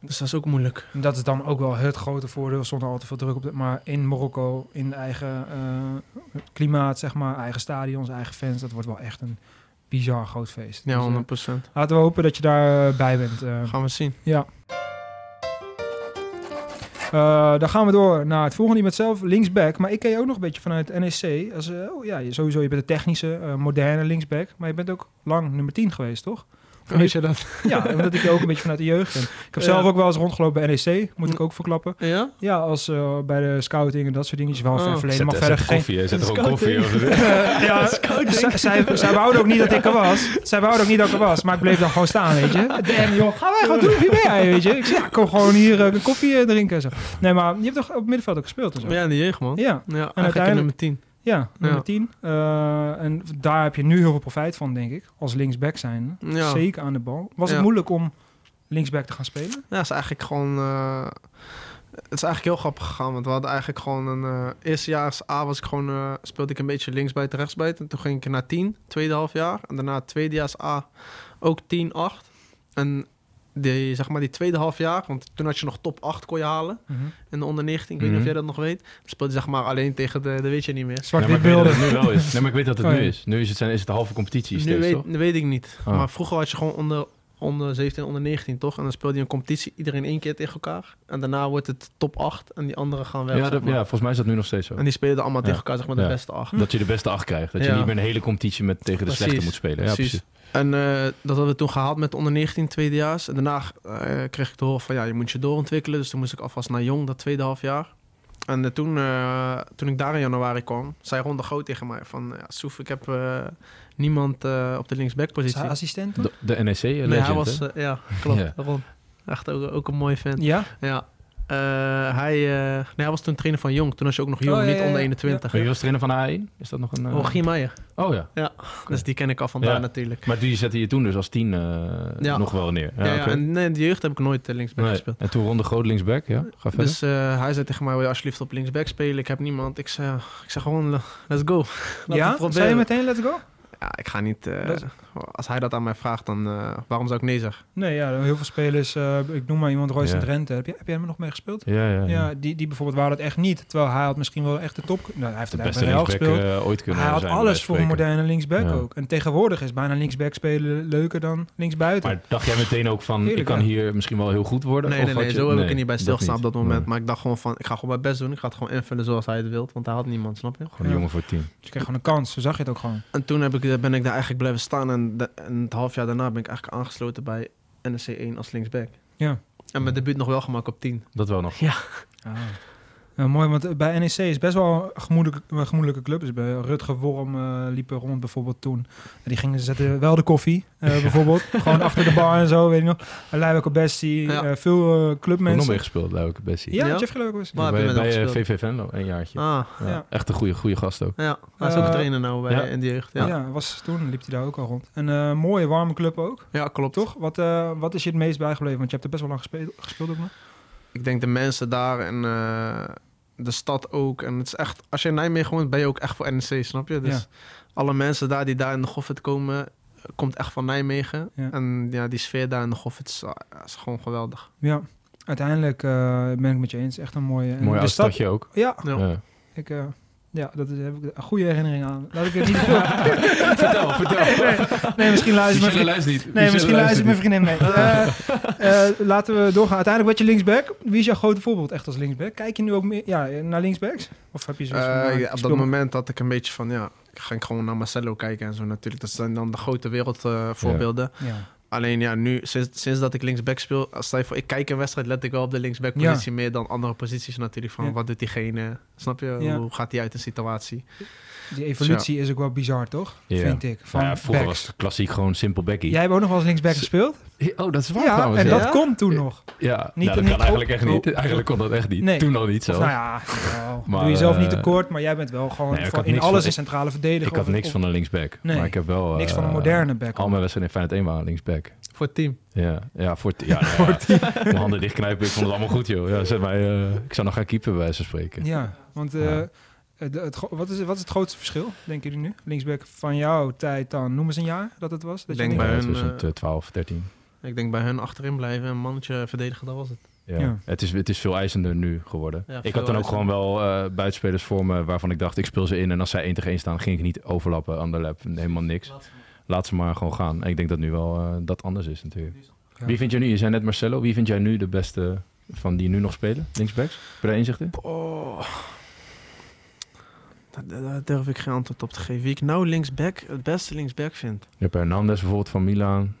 E: Dus dat is ook moeilijk.
A: dat is dan ook wel het grote voordeel zonder al te veel druk op. De, maar in Marokko, in eigen eh, klimaat, zeg maar, eigen stadions, eigen fans, dat wordt wel echt een bizar groot feest. Dus,
E: Ja,
A: eh,
E: 100 procent.
A: laten we hopen dat je daar eh, bij bent. eh.
E: Gaan we zien.
A: Ja. Eh, dan gaan we door naar het volgende iemand zelf, linksback. Maar ik ken je ook nog een beetje vanuit NEC. Als, eh, oh ja, je- sowieso, je bent een technische, eh, moderne linksback. Maar je bent ook lang nummer 10 geweest, toch?
E: Weet je dat?
A: Ja, omdat ik je ook een beetje vanuit de jeugd ken. Ik heb
E: Ja. Mm.
A: zelf ook wel eens rondgelopen bij NEC, moet ik ook verklappen.
E: Ja?
A: Ja, als eh, bij de scouting en dat soort dingetjes. Wel een ver
E: Oh.
A: verleden,
G: Zet,
A: maar
G: zet
A: verder
G: er
A: geen...
G: koffie, hè. zet er
E: Het is
G: gewoon koffie.
E: koud,
G: over.
A: Ja, zij, zij, zij wouden ook niet dat ik er was. Zij wouden ook niet dat ik er was, maar ik bleef dan gewoon staan, weet je. Damn, joh, ga weg, wat doe je ben jij, weet je. Ik zei, ja, kom gewoon hier eh, een koffie eh, drinken en zo. Nee, maar je hebt toch op het middenveld ook gespeeld en zo?
E: Ja, in de jeugd man. Ja,
A: Ja,
E: eigenlijk
A: uiteindelijk-
E: in nummer 10.
A: ja, nummer
E: Ja.
A: 10. Eh, en daar heb je nu heel veel profijt van, denk ik. Als linksback zijn,
E: Ja.
A: zeker aan de bal. Was het
E: Ja.
A: moeilijk om linksback te gaan spelen?
E: Ja, is eigenlijk gewoon... eh, het is eigenlijk heel grappig gegaan, want we hadden eigenlijk gewoon een... eh eerstejaars A was ik gewoon, eh, speelde ik een beetje linksbuiten, rechtsbuiten. En toen ging ik naar 10, tweede halfjaar. En daarna tweedejaars A ook 10, 8. En die, zeg maar die tweede halfjaar, want toen had je nog top 8 kon je halen.
A: Mhm.
E: in de onder 19. Ik weet niet of
G: Mhm.
E: jij dat nog weet. Dan speelde hij zeg maar alleen tegen de, de weet je niet meer.
G: Nee, maar
A: Zwart-wit
G: ik weet dat
A: beelden.
G: het nu wel is. Nee, maar ik weet dat het
A: Oh,
G: nu
A: ja.
G: is. Nu is het, zijn, is het de halve competitie
E: Nu
G: steeds,
E: weet,
G: toch?
E: nu weet ik niet.
G: Ah.
E: Maar vroeger had je gewoon onder onder 17, onder 19, toch? En dan speelt hij een competitie, iedereen één keer tegen elkaar. En daarna wordt het top 8 en die anderen gaan weg.
G: Ja,
E: zeg
G: dat,
E: maar.
G: ja, volgens mij is dat nu nog steeds zo.
E: En die spelen allemaal
G: Ja.
E: tegen elkaar, zeg maar, de
G: Ja.
E: beste 8.
G: Dat je de beste acht krijgt. Dat je
E: Ja.
G: niet meer een hele competitie met, tegen de
E: Precies,
G: slechte moet spelen. Ja, precies.
E: precies. En eh, dat hadden we toen gehaald met onder 19 tweedejaars. En daarna eh, kreeg ik te horen van ja, je moet je doorontwikkelen. Dus toen moest ik alvast naar jong, dat tweede half jaar. En eh, toen, eh, toen ik daar in januari kwam, zei Ron de Groot tegen mij van... Ja, Soef, ik heb eh, niemand eh, op de
A: Is
E: linksbackpositie.
A: hij assistent? toch?
G: De, de NEC eh, legend,
E: Nee, hij was...
G: hè?
E: eh, ja, klopt,
G: Ja.
E: Ron. Echt ook, ook een mooi fan.
A: Ja,
E: Ja. Eh, hij, eh, nee, hij was toen trainer van Jong. Toen was je ook nog jong,
A: Oh, ja,
E: niet
A: ja, ja.
E: onder 21.
G: Maar je was trainer van A1? Is dat nog een... eh,
E: Oh, Guy Meijer.
G: oh ja.
E: Dus die ken ik al vandaar
G: Ja.
E: natuurlijk.
G: Maar die zette je toen dus als tien eh,
E: Ja.
G: nog wel neer.
E: Ja, ja,
G: oké.
E: en nee, in de jeugd heb ik nooit eh, linksback
G: Nee.
E: gespeeld.
G: En toen ronde Groot linksback, ja. Ga verder.
E: Dus eh, hij zei tegen mij, wil je alsjeblieft op linksback spelen? Ik heb niemand. Ik zei, ik zeg gewoon, le- let's go. Laten we het
A: ja?
E: proberen.
A: zei je meteen let's go?
E: Ja, ik ga niet... eh,
A: Let's-
E: als hij dat aan mij vraagt, dan eh, waarom zou ik nee zeggen?
A: Nee, ja, heel veel spelers. eh, ik noem maar iemand Royce
G: Ja.
A: en Drenthe. Heb, je, heb jij hem nog mee gespeeld?
G: ja, ja, ja.
A: Ja, die, die bijvoorbeeld waren dat echt niet. Terwijl hij had misschien wel echt de top... Nou, hij heeft
G: De
A: het
G: beste
A: eigenlijk wel
G: linksback
A: gespeeld.
G: eh, ooit kunnen
A: hij had
G: zijn,
A: alles
G: bij
A: voor
G: wijze
A: een
G: van spreken.
A: moderne linksback
G: Ja.
A: ook. En tegenwoordig is bijna linksback spelen leuker dan linksbuiten.
G: Maar dacht jij meteen ook van,
A: Heerlijk,
G: ik kan
A: hè?
G: hier misschien wel heel goed worden?
E: Nee,
G: Of
E: nee,
G: had
E: nee,
G: je-
E: zo heb ik
G: nee,
E: er niet bij stilgestaan op dat
G: niet.
E: moment.
G: Nee.
E: Maar ik dacht gewoon van, ik ga gewoon mijn best doen. Ik ga het gewoon invullen zoals hij het wil. Want hij had niemand, snap je?
G: Gewoon een jongen voor tien.
A: Dus je kreeg gewoon een kans. Zo zag je het ook gewoon.
E: En toen heb ik, eh, ben ik daar eigenlijk blijven staan. En, de- en het half jaar daarna ben ik eigenlijk aangesloten bij NSC 1 als linksback.
A: Ja.
E: En mijn debuut nog wel gemaakt op 10.
G: Dat wel nog.
A: Ah. Ja, mooi, want eh, bij NEC is best wel een gemoedelijke, een gemoedelijke club. Dus bij Rutger Worm eh, liepen rond bijvoorbeeld toen. En die gingen zetten wel de koffie, eh, bijvoorbeeld. Gewoon achter de bar en zo, weet je nog. Leijwijk Bestie,
E: Ja.
A: veel eh,
G: Nog
A: clubmensen.
G: mee gespeeld, daar ook best.
A: Ja,
E: Ja?
A: Jeff Leijwijk was.
E: Maar heb je
G: bij
E: met hem
G: bij eh,
E: gespeeld?
G: VV Venlo, een jaartje.
E: Ah,
G: Ja,
A: Ja.
G: Echt een goede, goede gast ook.
E: ja. Hij is ook
A: Eh,
E: trainer nou bij,
G: ja.
E: in de jeugd.
A: Ja.
E: Ja, ja.
A: was toen liep hij daar ook al rond. Een eh, mooie, warme club ook,
E: klopt.
A: toch? Wat, eh, wat is je het meest bijgebleven? Want je hebt er best wel lang gespeeld, gespeeld ook nog.
E: ik denk de mensen daar en eh, de stad ook. En het is echt, als je in Nijmegen woont, ben je ook echt voor NEC, snap je? Dus
A: Ja.
E: alle mensen daar die daar in de Goffert komen, eh, komt echt van Nijmegen.
A: Ja.
E: En ja, die sfeer daar in de Goffert is, ah, is gewoon geweldig.
A: Ja, uiteindelijk eh, ben ik met je eens. Echt een mooie... en
G: Mooi
A: de
G: oud
A: stad-
G: stadje ook.
A: Ja,
E: Ja.
G: Ja.
A: Ik, eh, ja, dat is, heb ik een goede herinnering aan. Laat ik het niet vertel, vertel. Nee, nee, nee, misschien luister ik mijn vriendin.
G: niet.
A: Nee, misschien luister ik mijn vriendin mee. Eh, eh, laten we doorgaan. Uiteindelijk werd je linksback. Wie is jouw grote voorbeeld echt als linksback? Kijk je nu ook meer ja, naar linksbacks? Of heb je zoiets van, nou,
E: Eh,
A: ik
E: ja, op
A: speel
E: dat
A: maar-
E: moment had ik een beetje van, ja, ga ik gewoon naar Marcelo kijken en zo natuurlijk. Dat zijn dan de grote wereldvoorbeelden.
A: Ja.
E: Alleen ja, nu, sinds, sinds dat ik linksback speel, als stel je voor, ik kijk een wedstrijd, let ik wel op de linksbackpositie meer dan andere posities natuurlijk. Van
A: Ja.
E: wat doet diegene? Snap je?
A: Ja.
E: Hoe gaat die uit de situatie?
A: Die evolutie is ook wel bizar, toch?
G: Ja.
A: Vind ik. Van
G: Nou ja, vroeger
A: backs.
G: was het klassiek gewoon simpel Becky.
A: Jij hebt ook nog wel eens linksback
G: Ze-
A: gespeeld?
G: Oh, dat is waar
A: Ja,
G: trouwens.
A: en
G: ja.
A: dat kon toen nog.
G: Ja,
A: Niet-
G: nou, dat
A: niet-
G: kan eigenlijk echt
A: oh,
G: niet. Eigenlijk kon dat echt niet.
A: Nee.
G: Toen al niet zo.
A: Of nou ja, wel.
G: Maar,
A: doe jezelf niet
G: eh,
A: tekort, maar jij bent wel gewoon
G: nee, ik
A: van-
G: had
A: in
G: niks
A: alles
G: van-
A: een centrale verdediger.
G: ik had
A: of-
G: niks
A: of
G: van een linksback.
A: Nee.
G: Maar ik heb wel...
A: niks van een
G: eh,
A: moderne back.
G: Al mijn wedstrijden in Feyenoord 1 waren linksback.
E: Voor het team.
G: Ja, ja voor... t- Ja, voor Mijn handen dichtknijpen, ik vond het allemaal goed, joh. Ja, zet mij, eh, ik zou nog gaan keeper bij wijze van spreken.
A: Ja, want eh,
G: Ja.
A: het, het gro- wat, is, wat is het grootste verschil, denken jullie nu? Linksback van jouw tijd dan, noem eens een jaar dat het was. Dat je
E: Denk
A: links-
E: bij
G: Ja,
E: hun,
G: 2012, 13.
E: Ik denk bij hun achterin blijven en een mannetje verdedigen, dat was het.
G: Ja.
A: Ja.
G: Het, is, het is veel eisender nu geworden.
E: Ja,
G: ik
E: veel
G: had dan ook
E: eisender.
G: gewoon wel eh buitenspelers voor me waarvan ik dacht, ik speel ze in. En als zij één tegen één staan, ging ik niet overlappen, underlap, helemaal niks. Laat ze maar gewoon gaan. En ik denk dat nu wel eh, dat anders is natuurlijk.
A: Ja.
G: Wie vind jij nu, je zei net Marcelo, wie vind jij nu de beste van die nu nog spelen? Linksbacks? Per inzichten?
E: Oh. Daar, daar- daar durf ik geen antwoord op te geven. Wie ik nou linksback, het beste linksback vind.
G: Je hebt Hernandez bijvoorbeeld van Milan.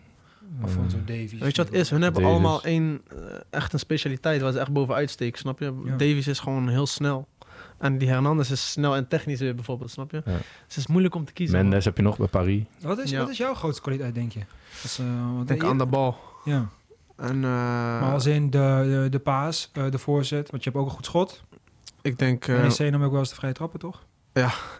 G: Mm.
A: Alfonso Davies.
E: Weet je wat het is? Hun hebben
G: Davies.
E: allemaal één, eh, echt een specialiteit waar ze echt bovenuit steken, snap je?
A: Ja.
E: Davies is gewoon heel snel. En die Hernandez is snel en technisch weer bijvoorbeeld, snap je?
G: Ja.
E: Dus het is moeilijk om te kiezen. man.
G: Mendes heb je nog bij Paris.
A: Wat is,
E: Ja.
A: wat is jouw grootste kwaliteit, denk je? Als, eh, wat
E: Ik denk
A: ja,
E: aan de bal.
A: ja.
E: En, eh,
A: Maar als in de, de, de paas, eh, de voorzet, want je hebt ook een goed schot.
E: ik denk, eh,
A: En NEC nam ook wel eens de vrije trappen, toch?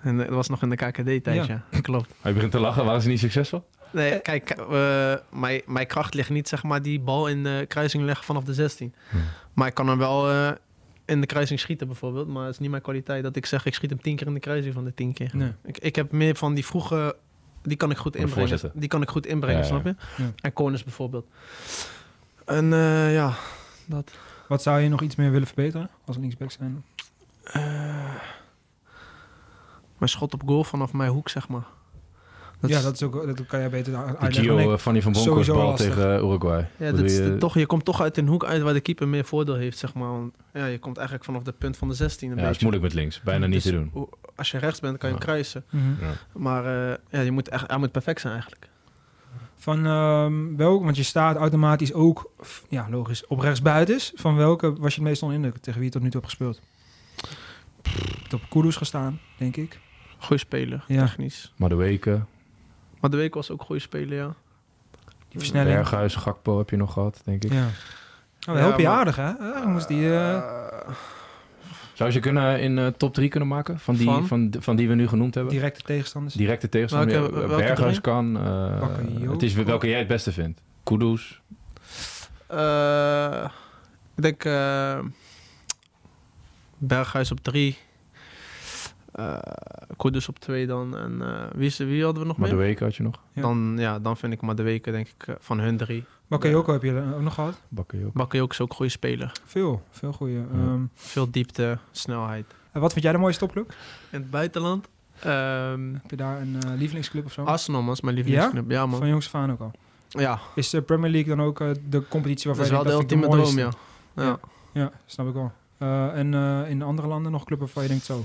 E: en dat was nog in de KKD-tijd, ja. Klopt.
G: Hij begint te lachen, waren ze niet succesvol?
E: Nee, kijk, eh, mijn, mijn kracht ligt niet, zeg maar, die bal in de kruising leggen vanaf de 16.
G: Hmm.
E: Maar ik kan hem wel eh, in de kruising schieten, bijvoorbeeld. Maar het is niet mijn kwaliteit dat ik zeg, ik schiet hem 10 keer in de kruising van de 10 keer.
A: Nee.
E: Ik, ik heb meer van die vroege, die kan ik goed
G: Van de
E: inbrengen.
G: voorzetten.
E: Die kan ik goed inbrengen,
G: Ja, ja.
E: snap je?
A: Ja.
E: En corners bijvoorbeeld. En eh, ja, dat.
A: Wat zou je nog iets meer willen verbeteren als linksback zijn?
E: Eh, mijn schot op goal vanaf mijn hoek, zeg maar. Dat
A: ja,
E: is-
A: dat, is ook, dat kan jij beter
G: De
A: uitleggen. dan
G: Gio
A: Ah, ik.
G: eh, Fanny van Bronckhorst
A: sowieso
G: bal
A: lastig.
G: tegen eh, Uruguay.
E: Ja,
G: Bedoel
E: dat is de-
G: je-
E: toch, je komt toch uit een hoek uit waar de keeper meer voordeel heeft, zeg maar. Want, ja, je komt eigenlijk vanaf de punt van de 16 een
G: ja,
E: beetje.
G: het is moeilijk met links. Bijna niet
E: Dus
G: te doen.
E: hoe- Als je rechts bent, kan je
G: Ja.
E: kruisen.
A: Mhm.
E: Maar eh, ja, je moet echt, hij moet perfect zijn eigenlijk.
A: Van ehm, welk, want je staat automatisch ook, f- ja logisch, op rechtsbuitens. Van welke was je het meest onder indruk tegen wie je tot nu toe hebt gespeeld? Je hebt op Kudus gestaan, denk ik.
E: Goeie speler,
A: Ja.
E: technisch.
G: Maar de weken,
E: Maar de week was ook een goede speler, ja.
A: Die versnelling.
G: Berghuis, Gakpo heb je nog gehad, denk ik.
A: Ja. Nou, we
E: Ja,
A: helpen je
E: maar-
A: aardig, hè? Ah, moest die, eh,
E: Eh,
G: Zou je ze kunnen in eh, top 3 kunnen maken? Van die, van?
E: Van?
G: de- van die we nu genoemd hebben?
A: directe tegenstanders.
G: Directe tegenstander.
E: Welke-
G: Ja,
E: welke
G: Berghuis
E: drie?
G: kan. eh,
A: Bakayoko.
G: het is welke jij het beste vindt. Kudus.
E: eh, ik denk eh, Berghuis op drie. Eh Kudus op twee dan. En eh, wie, is, wie hadden we nog
G: Maar de
E: meer?
G: weken had je nog.
A: Ja.
E: Dan, ja, dan vind ik maar de weken, denk ik, eh, van hun drie.
A: Bakayoko heb je er ook nog gehad.
G: Bakayoko.
E: Bakayoko is ook een goede speler.
A: Veel, veel goede.
E: Veel diepte, snelheid.
A: en wat vind jij de mooiste topclub?
E: In het buitenland? Ehm,
A: Heb je daar een eh, lievelingsclub of zo?
E: Arsenal man, is mijn lievelingsclub. Ja, man.
A: Van jongs af aan ook al.
E: Ja,
A: Is de Premier League dan ook eh, de competitie
E: dat
A: waarvan
E: is
A: je
E: wel de
A: denkt, dat
E: ultieme
A: vind ik de
E: droom, ja. Ja.
A: mooiste? Ja, snap ik wel. Eh, en eh, in andere landen nog clubs waarvan je denkt zo.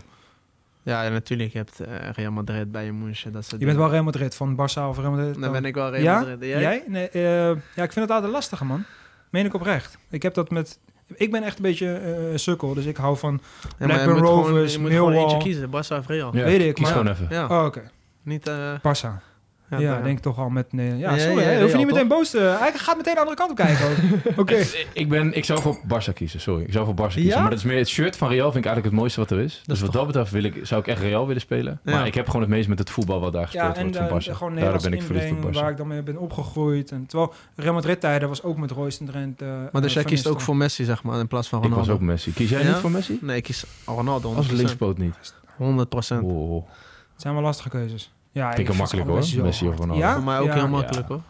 E: ja, en natuurlijk. Je hebt eh, Real Madrid bij je moesje. Dat soort
A: Je bent
E: dingen.
A: wel Real Madrid, van Barça of Real Madrid.
E: Dan ben ik wel Real
A: ja?
E: Madrid. En
A: Jij?
E: Jij?
A: Nee, eh, ja, ik vind het altijd lastiger, man. Meen ik oprecht. Ik heb dat met... Ik ben echt een beetje eh, een sukkel, dus ik hou van...
E: Ja, maar je
A: Blackburn
E: moet gewoon-
A: Rovers,
E: Je moet gewoon
A: Millwall.
E: eentje kiezen. Barca of Real.
G: Ja,
A: Weet ik,
G: kies
A: maar-
G: gewoon even.
E: Ja,
A: Oh, oké.
E: niet... eh
A: Barça. Ja,
E: daar.
A: denk toch al met... Nee, ja,
E: Ja,
A: sorry,
E: ja,
A: hè,
E: ja,
A: hoef je
E: Real,
A: niet meteen boos te... Hij gaat meteen de andere kant op kijken ook. Oké.
G: Ik- eh, Ik, ben, ik zou voor Barça kiezen, sorry. Ik zou voor Barça kiezen.
E: Ja?
G: Maar dat is meer, het shirt van Real vind ik eigenlijk het mooiste wat er is. dus
E: is
G: wat
E: toch-
G: dat betreft wil ik, zou ik echt Real willen spelen.
E: Ja.
G: Maar ik heb gewoon het meest met het voetbal wat daar gespeeld
A: Ja, en
G: wordt
A: eh,
G: van Barça.
A: gewoon
G: Daarom
A: Nederlands
G: ben ik verliefd op
A: inbreng, waar
G: Barça.
A: ik dan mee ben opgegroeid. En, terwijl Real Madrid tijden was ook met Royce en Drent. eh,
E: Maar
A: eh,
E: dus jij
A: Van
E: kiest ook
A: Nistelrooy.
E: voor Messi, zeg maar, in plaats van
G: Ik was
E: Ronaldo.
G: ook Messi. Kies jij
E: Ja?
G: niet voor Messi?
E: Nee, ik kies Ronaldo 100%.
G: Als linkspoot niet.
E: 100 procent.
G: Wow.
A: Het zijn wel lastige keuzes. Ja,
G: Vind ik hem
A: vind
G: makkelijk
A: ze
G: hoor,
A: allebei zo
G: Messi of
A: hard.
G: Ronaldo.
A: Ja?
E: Voor mij ook
A: Ja.
E: heel makkelijk,
G: Ja.
E: hoor.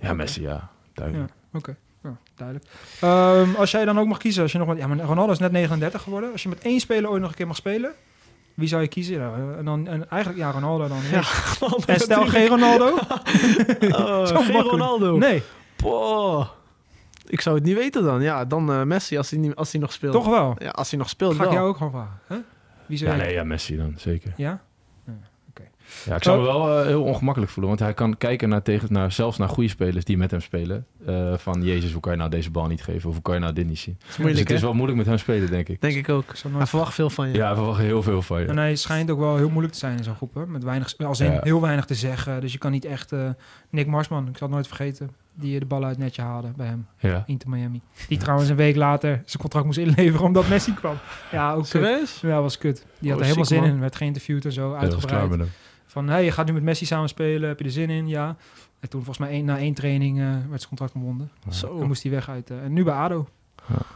G: Ja, Messi, ja. Duidelijk.
A: Ja, duidelijk. Ehm, als jij dan ook mag kiezen, als je nog wat, ja, maar Ronaldo is net 39 geworden. Als je met één speler ooit nog een keer mag spelen, wie zou je kiezen? Ja, en dan en eigenlijk ja, Ronaldo dan. Ja. En stel geen Ronaldo?
E: Oh,
A: Zo
E: geen
A: makkelijk.
E: Ronaldo.
A: Nee,
E: Boah. Ik zou het niet weten dan. Ja, dan eh, Messi als hij, niet, als hij nog speelt.
A: toch wel.
E: Ja, als hij nog speelt,
A: Ga ik
E: wel.
A: jou ook gewoon vragen. Hè? Wie zou
G: Ja,
A: je?
G: nee, ja, Messi dan, zeker.
A: Ja?
G: Ja, ik zou me wel eh, heel ongemakkelijk voelen, want hij kan kijken naar, tegen, naar zelfs naar goede spelers die met hem spelen. eh, van, jezus, hoe kan je nou deze bal niet geven? Of hoe kan je nou dit niet zien?
E: is
G: Dus
E: moeilijk,
G: het is
E: hè?
G: wel moeilijk met hem spelen, denk ik.
E: Denk ik ook.
A: Ik zal
E: Hij
A: nooit...
E: verwacht veel van je.
G: Ja, we verwachten heel veel van je.
A: En hij schijnt ook wel heel moeilijk te zijn in zo'n groep. Hè? Met weinig, als in
G: Ja.
A: heel weinig te zeggen. Dus je kan niet echt... eh, Nick Marsman, ik zal het nooit vergeten. Die eh, de bal uit het netje haalde bij hem.
G: Ja.
A: Inter Miami. Die trouwens een week later zijn contract moest inleveren omdat Messi kwam. Ja, ook kut.
E: Serieus?
A: Ja, was kut. Die had
E: Oh,
A: er helemaal
E: ziek,
A: zin
E: man.
A: in. Werd geïnterviewd en zo,
G: Ja, dat was klaar
A: uitgebreid.
G: met hem.
A: van, hey, je gaat nu met Messi samen spelen. Heb je er zin in? Ja. En toen volgens mij één- na één training eh, werd zijn contract ontbonden.
E: Zo.
A: En moest hij weg uit. eh, en nu bij ADO.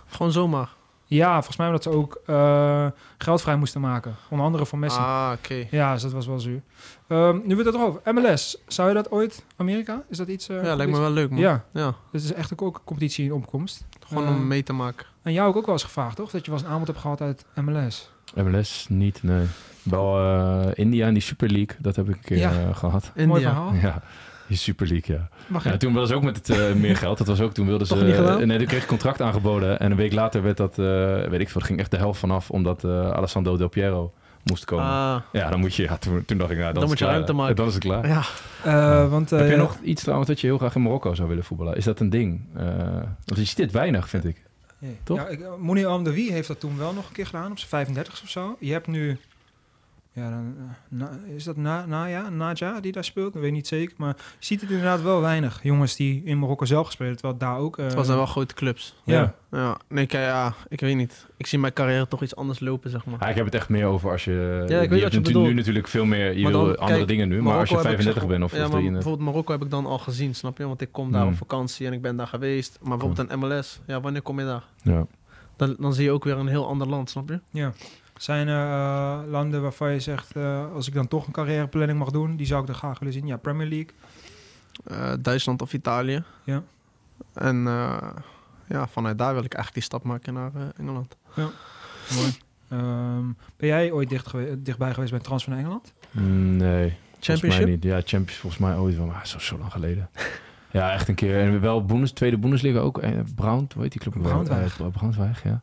E: Gewoon zomaar.
A: Ja, volgens mij omdat ze ook eh, geld vrij moesten maken. Onder andere voor Messi.
E: Ah, oké.
A: Ja, dus dat was wel zuur. Ehm, nu we het erover. MLS, zou je dat ooit... Amerika? Is dat iets... eh,
E: Ja, lijkt me
A: competitie?
E: wel leuk, man.
A: Ja,
E: Ja,
A: het is echt ook ook een competitie in opkomst.
E: gewoon
A: Eh,
E: om mee te maken.
A: En jou heb ik ook wel eens gevraagd, toch? Dat je wel eens een aanbod hebt gehad uit MLS.
G: MLS niet, nee. Wel eh, India in die Super League, dat heb ik een keer
A: Ja.
G: eh, gehad.
A: Mooi
E: India.
A: verhaal.
G: Ja, die Super League, ja.
A: Mag je?
G: ja toen wilden ze ook met het eh, meer geld. Dat was ook, toen wilden ze...
E: Toch niet gedaan?
G: eh, nee, toen kreeg ik contract aangeboden. En een week later werd dat, eh, weet ik veel, er ging echt de helft vanaf. Omdat eh, Alessandro Del Piero moest komen.
E: Ah,
G: Ja, dan moet je, ja, toen, toen dacht ik, nou,
E: Dan
G: dan, is
E: moet
G: het
E: je
G: klaar.
E: ruimte maken.
G: Dan is het klaar.
E: ja.
A: Eh, want, eh,
G: Heb je nog iets trouwens dat je heel graag in Marokko zou willen voetballen? Is dat een ding? Eh, want je ziet dit weinig, vind ik.
A: Nee.
G: Toch?
A: Ja, ik, eh, Mouni Amdawi heeft dat toen wel nog een keer gedaan, op zijn 35 of zo. Je hebt nu... Ja, dan, eh, na, is dat na, Naja, Naja die daar speelt? Dat weet ik niet zeker. Maar je ziet het inderdaad wel weinig. Jongens die in Marokko zelf gespeeld hebben, terwijl daar ook... eh,
E: Het was dan wel grote clubs.
A: Ja.
G: Ja.
E: Ja, nee, ik, ja, ik weet niet. Ik zie mijn carrière toch iets anders lopen, zeg maar.
G: Ah, ik heb het echt meer over als je...
E: weet wat je
G: hebt natu-
E: bedoelt.
G: nu natuurlijk veel meer... Je
E: Maar
G: wil
E: dan,
G: andere
E: kijk,
G: dingen nu, maar
E: Marokko
G: als je
E: heb ik,
G: 35
E: zeg-
G: bent of,
E: ja,
G: of
E: maar
G: 33...
E: bijvoorbeeld Marokko heb ik dan al gezien, snap je? Want ik kom daar
G: Hmm.
E: op vakantie en ik ben daar geweest. Maar bijvoorbeeld een MLS, ja, wanneer kom je daar?
G: Ja.
E: Dan, dan zie je ook weer een heel ander land, snap je?
A: Zijn er eh, landen waarvan je zegt, eh, als ik dan toch een carrièreplanning mag doen, die zou ik dan graag willen zien? Ja, Premier League.
E: Eh, Duitsland of Italië.
A: Ja.
E: En eh, ja, vanuit daar wil ik eigenlijk die stap maken naar eh, Engeland.
A: Mooi. Ehm, ben jij ooit dicht gewe- dichtbij geweest bij een transfer naar Engeland?
G: Mm, Nee. Volgens
E: Championship?
G: mij niet. Ja, Champions volgens mij ooit wel, maar zo, zo lang geleden. ja, echt een keer. En wel Boendes, tweede Bundesliga ook. En Brown, hoe heet die club? ook wel?
A: Braunschweig.
G: Eh, Braunschweig, ja.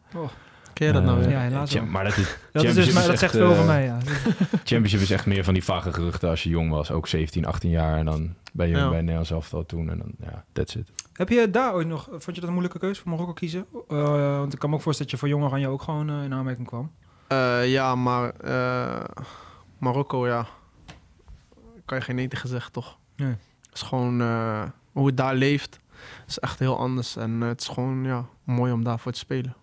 E: Ken je dat nou
G: Eh,
E: weer?
A: Ja, helaas
G: Cham-
A: wel.
G: Maar dat, is,
A: Dat, is dus,
G: Championship
A: maar,
G: is
A: dat zegt
G: echt,
A: veel over
G: eh,
A: mij, ja.
G: Championship is echt meer van die vage geruchten als je jong was. Ook 17, 18 jaar. En dan ben je
E: Ja.
G: bij het Nederlands elftal toen. En dan, ja, that's it.
A: Heb je daar ooit nog, vond je dat een moeilijke keuze voor Marokko kiezen? Eh, want ik kan me ook voorstellen dat je voor Jong Oranje ook gewoon eh, in aanmerking kwam.
E: Eh, ja, maar eh, Marokko, ja. Kan je geen nee tegen zeggen, toch?
A: Nee.
E: Het is gewoon eh, hoe het daar leeft. is echt heel anders. En eh, het is gewoon ja, mooi om daarvoor te spelen.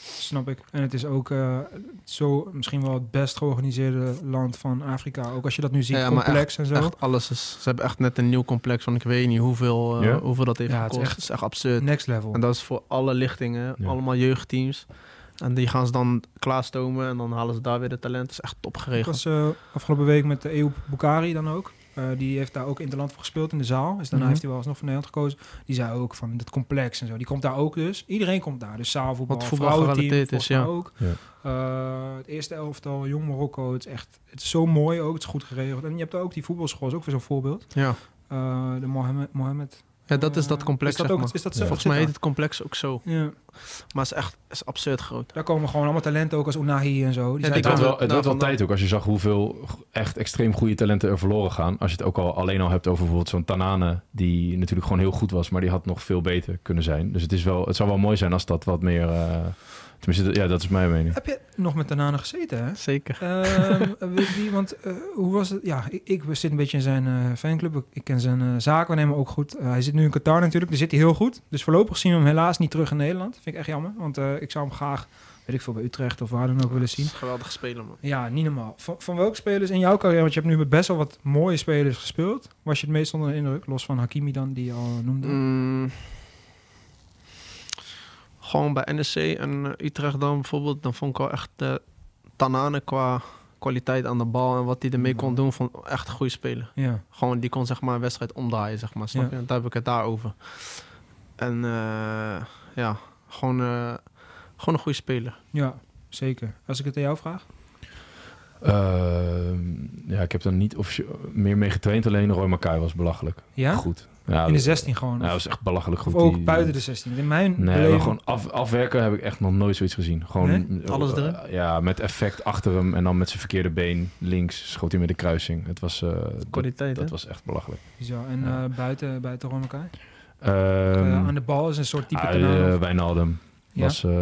A: Snap ik. En het is ook eh, zo misschien wel het best georganiseerde land van Afrika. Ook als je dat nu ziet,
E: Ja, maar
A: complex en zo.
E: Echt alles is. Ze hebben echt net een nieuw complex, want ik weet niet hoeveel, eh,
G: Ja?
E: hoeveel dat heeft
A: Ja, het is
E: gekost.
A: echt-
E: Het is echt absurd.
A: Next level.
E: En dat is voor alle lichtingen,
G: Ja.
E: allemaal jeugdteams. En die gaan ze dan klaarstomen en dan halen ze daar weer de talent. Het is echt top
A: Ik
E: geregeld.
A: was eh, afgelopen week met de Eeuw Bukari dan ook. Eh, die heeft daar ook Interland voor gespeeld in de zaal. Dus daarna
E: Mhm.
A: heeft hij wel alsnog voor Nederland gekozen. Die zei ook van dat complex en zo. Die komt daar ook dus. Iedereen komt daar. Dus zaalvoetbal,
E: Wat voetbal
A: vrouwenteam,
E: gerelateerd is,
A: volgens mij
E: ja.
A: ook. Eh, het eerste elftal, Jong Marokko. Het is echt het is zo mooi ook. Het is goed geregeld. En je hebt daar ook die voetbalschool, is ook weer zo'n voorbeeld.
E: Ja.
A: Eh, de Mohammed. Mohammed
E: ja, dat is dat
A: eh,
E: complex.
A: Is dat
E: zeg
A: ook,
E: maar.
A: is dat
G: Ja.
A: zo?
E: Volgens mij heet het complex ook zo.
A: Ja.
E: Maar het is echt het is absurd groot.
A: Daar komen gewoon allemaal talenten ook als Unahi en zo. Die
E: Ja,
A: zijn
G: Het
E: die
A: daar-
G: werd
E: komen-
G: wel, het werd wel
E: daarvan
G: tijd ook als je zag hoeveel g- echt extreem goede talenten er verloren gaan. Als je het ook al alleen al hebt over bijvoorbeeld zo'n Tanane, die natuurlijk gewoon heel goed was, maar die had nog veel beter kunnen zijn. Dus het, is wel, het zou wel mooi zijn als dat wat meer. eh, tenminste, dat- ja, dat is mijn mening.
A: Heb je nog met Tanane gezeten, hè?
E: Zeker.
A: Ehm, weet je, want eh, hoe was het? Ja, ik, ik zit een beetje in zijn eh, fanclub. Ik, ik ken zijn eh, zaak, we nemen ook goed. Eh, hij zit nu in Qatar natuurlijk, daar zit hij heel goed. Dus voorlopig zien we hem helaas niet terug in Nederland. Vind ik echt jammer, want eh, ik zou hem graag, weet ik veel, bij Utrecht of waar dan ook willen zien.
E: Geweldig spelen, man.
A: Ja, niet normaal. Van, van welke spelers in jouw carrière, want je hebt nu met best wel wat mooie spelers gespeeld, was je het meest onder de indruk, los van Hakimi dan, die je al noemde?
E: Mm. Gewoon bij NSC en eh, Utrecht dan bijvoorbeeld, dan vond ik wel echt eh Tanane qua kwaliteit aan de bal en wat hij ermee kon doen, vond ik echt een goede speler.
A: Ja,
E: Gewoon, die kon zeg maar een wedstrijd omdraaien, zeg maar. Snap
A: Ja.
E: je? Daar heb ik het daar over. En eh, ja, gewoon, eh, gewoon een goede speler.
A: ja, zeker. Als ik het aan jou vraag? Eh,
G: Ehm, ja, ik heb er niet officieel meer mee getraind, alleen Roy Makai was belachelijk.
A: Ja?
G: Goed. Ja,
A: In de
G: dat-
A: 16 gewoon?
G: Ja, dat was echt belachelijk goed.
A: of ook
G: Die-
A: buiten de 16? In mijn
G: Nee, maar
A: beleving-
G: gewoon af, afwerken heb ik echt nog nooit zoiets gezien. Gewoon
A: Nee?
E: Alles erin?
G: eh, ja, met effect achter hem en dan met zijn verkeerde been links schoot hij met de kruising. Het was, eh, dat,
E: Kwaliteit,
G: dat
E: hè?
G: was echt belachelijk.
A: Bizar. En
G: Ja.
A: eh, buiten, buiten Roy Makai?
G: Ehm
A: Eh, aan de bal is een soort type
G: ah,
A: Tanane
G: eh,
A: of-
G: Wijnaldum
A: Ja?
G: was, eh,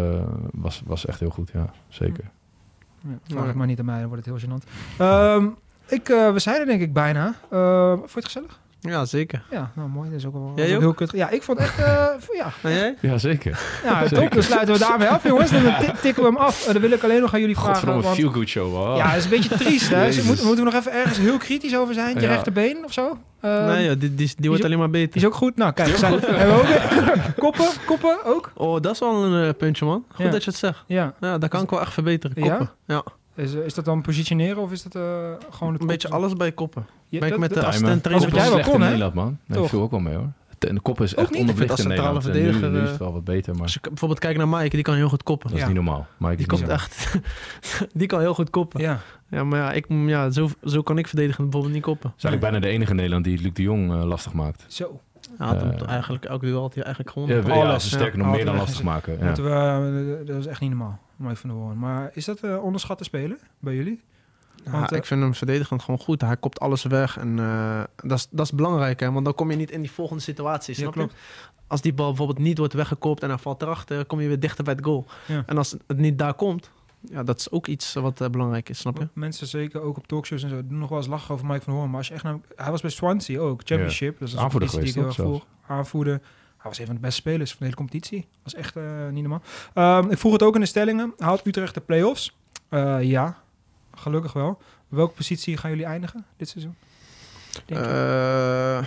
G: was, was echt heel goed, ja. Zeker.
A: Ja, vraag het maar niet aan mij, dan wordt het heel gênant. Ehm, ik, eh, we zijn er denk ik bijna. Eh, vond je het gezellig?
E: Ja, zeker.
A: Ja, nou mooi. Dat is ook wel
E: Jij
A: was ook
E: ook?
A: heel kut. Ja, ik vond echt... eh, v- ja,
E: En jij?
G: Ja, zeker.
A: ja top.
G: Zeker.
A: Dan sluiten we daarmee af, jongens. Dan ti- tikken we hem af. Eh, dan wil ik alleen nog aan jullie vragen.
G: Godverdomme,
A: Want, ja,
G: feel-good show. Ah, wow.
A: dat is een beetje triest. Hè? Dus
G: Jezus.
A: moet- moeten we nog even ergens heel kritisch over zijn? Je
G: Ja.
A: rechterbeen of zo? Eh,
E: nee, joh, die, die, die wordt
A: ook-
E: alleen maar
A: Die
E: beter.
A: is ook goed. Nou, kijk. we Zijn, hebben we ook, koppen, koppen ook.
E: Oh, dat is wel een eh, puntje, man. Goed
A: Ja.
E: dat je het zegt.
A: Ja.
E: Ja, daar kan ik wel echt verbeteren.
A: Ja?
E: Koppen. Dus- Ja?
A: Is, eh, is dat dan positioneren of is dat eh, gewoon... het
E: Een beetje
A: koppen?
E: alles bij koppen.
A: Ja,
E: ben ik
A: dat-
E: met de
A: dat-
G: Timer.
E: assistent
A: Als
E: trainer.
A: het jij wel
G: Slecht
A: kon,
G: in
A: hè?
G: Nederland, man. Nee,
A: Toch?
G: ik viel ook wel mee, hoor. De, de kop is echt
A: Ook niet?
G: onderbelicht
E: Als
G: in
E: centrale
G: Nederland. En nu- nu,
E: verdediger,
A: eh,
G: is het wel wat beter, maar
E: Als je k- bijvoorbeeld kijkt naar Mike, die kan heel goed koppen.
G: dat is
A: Ja.
G: niet normaal. Maar ik
E: Die,
G: is
E: komt echt, die kan heel goed koppen. Ja,
A: Ja.
E: maar ja, ik, ja zo, zo kan ik verdedigen bijvoorbeeld niet koppen.
G: is eigenlijk bijna de enige Nederland die Luc de Jong eh, lastig maakt.
A: Zo.
E: Hij had hem
G: Eh.
E: toch eigenlijk elke duel had hij eigenlijk
G: Ja,
E: gewonnen.
G: we-
E: Alles.
G: ja, ze sterker nog
A: Ja,
G: meer dan
A: altijd
G: lastig maken. Ja.
A: Moeten we, eh, dat is echt niet normaal. Mooi van de horen. Maar is dat eh onderschatte spelen bij jullie?
E: Ja,
A: Want, eh,
E: Nou, ik vind hem verdedigend gewoon goed. Hij kopt alles weg. En eh, dat, is, dat is belangrijk, hè? want dan kom je niet in die volgende situatie. Snap je?
A: klopt.
E: Als die bal bijvoorbeeld niet wordt weggekopt en hij valt erachter, kom je weer dichter bij het goal.
A: Ja.
E: En als het niet daar komt, ja, dat is ook iets eh, wat eh, belangrijk is. Snap je?
A: Mensen zeker ook op talkshows en zo doen nog wel eens lachen over Mike van Hoorn. Maar als je echt naar, hij was bij Swansea ook, Championship. Dat is een
G: Aanvoerder
A: competitie die ik
G: geweest,
A: heel erg
G: toch,
A: volg. Aanvoerder. Hij was een van de beste spelers van de hele competitie. Dat was echt eh, niet normaal. Ehm, ik vroeg het ook in de stellingen. Haalt Utrecht de play-offs? Eh, ja, gelukkig wel. Welke positie gaan jullie eindigen dit seizoen? Denk je?
E: Eh,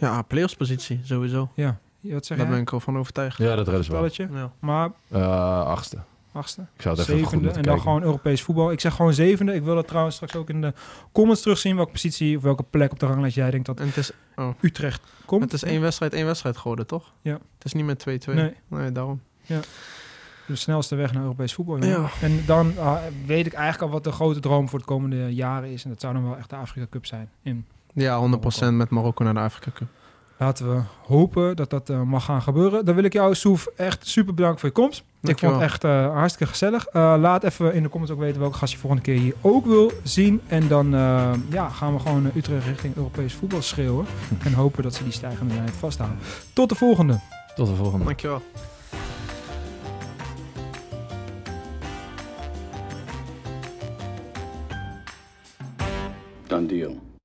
E: ja, playoffspositie sowieso.
A: ja, Ja, wat zeg
E: Daar ben
A: jij?
E: ik wel van overtuigd.
G: ja, dat redden ze wel.
A: Spelletje.
E: Ja.
A: Maar
G: Eh, achtste.
A: achtste.
G: Ik zou het even goed
A: zevende
G: moeten
A: en dan
G: kijken.
A: gewoon Europees voetbal. Ik zeg gewoon zevende. Ik wil dat trouwens straks ook in de comments terugzien welke positie of welke plek op de ranglijst jij denkt dat
E: En het is,
A: Utrecht komt.
E: het is één wedstrijd, één wedstrijd geworden, toch?
A: Ja.
E: Het is niet met 2-2.
A: Nee.
E: Nee, daarom.
A: Ja. de snelste weg naar Europees voetbal. jongen.
E: Ja.
A: En dan ah, weet ik eigenlijk al wat de grote droom voor de komende jaren is. En dat zou dan wel echt de Afrika Cup zijn. In
E: ja, 100% met Marokko naar de Afrika Cup.
A: Laten we hopen dat dat eh, mag gaan gebeuren. Dan wil ik jou, Soef, echt super bedanken voor je komst. Ik vond
E: Dankjewel.
A: het echt eh, hartstikke gezellig. Eh, laat even in de comments ook weten welke gast je volgende keer hier ook wil zien. En dan eh, ja, gaan we gewoon eh, Utrecht richting Europees voetbal schreeuwen. En hopen dat ze die stijgende lijn vasthouden. Tot de volgende.
G: Tot de volgende.
E: Dankjewel.
F: Done deal.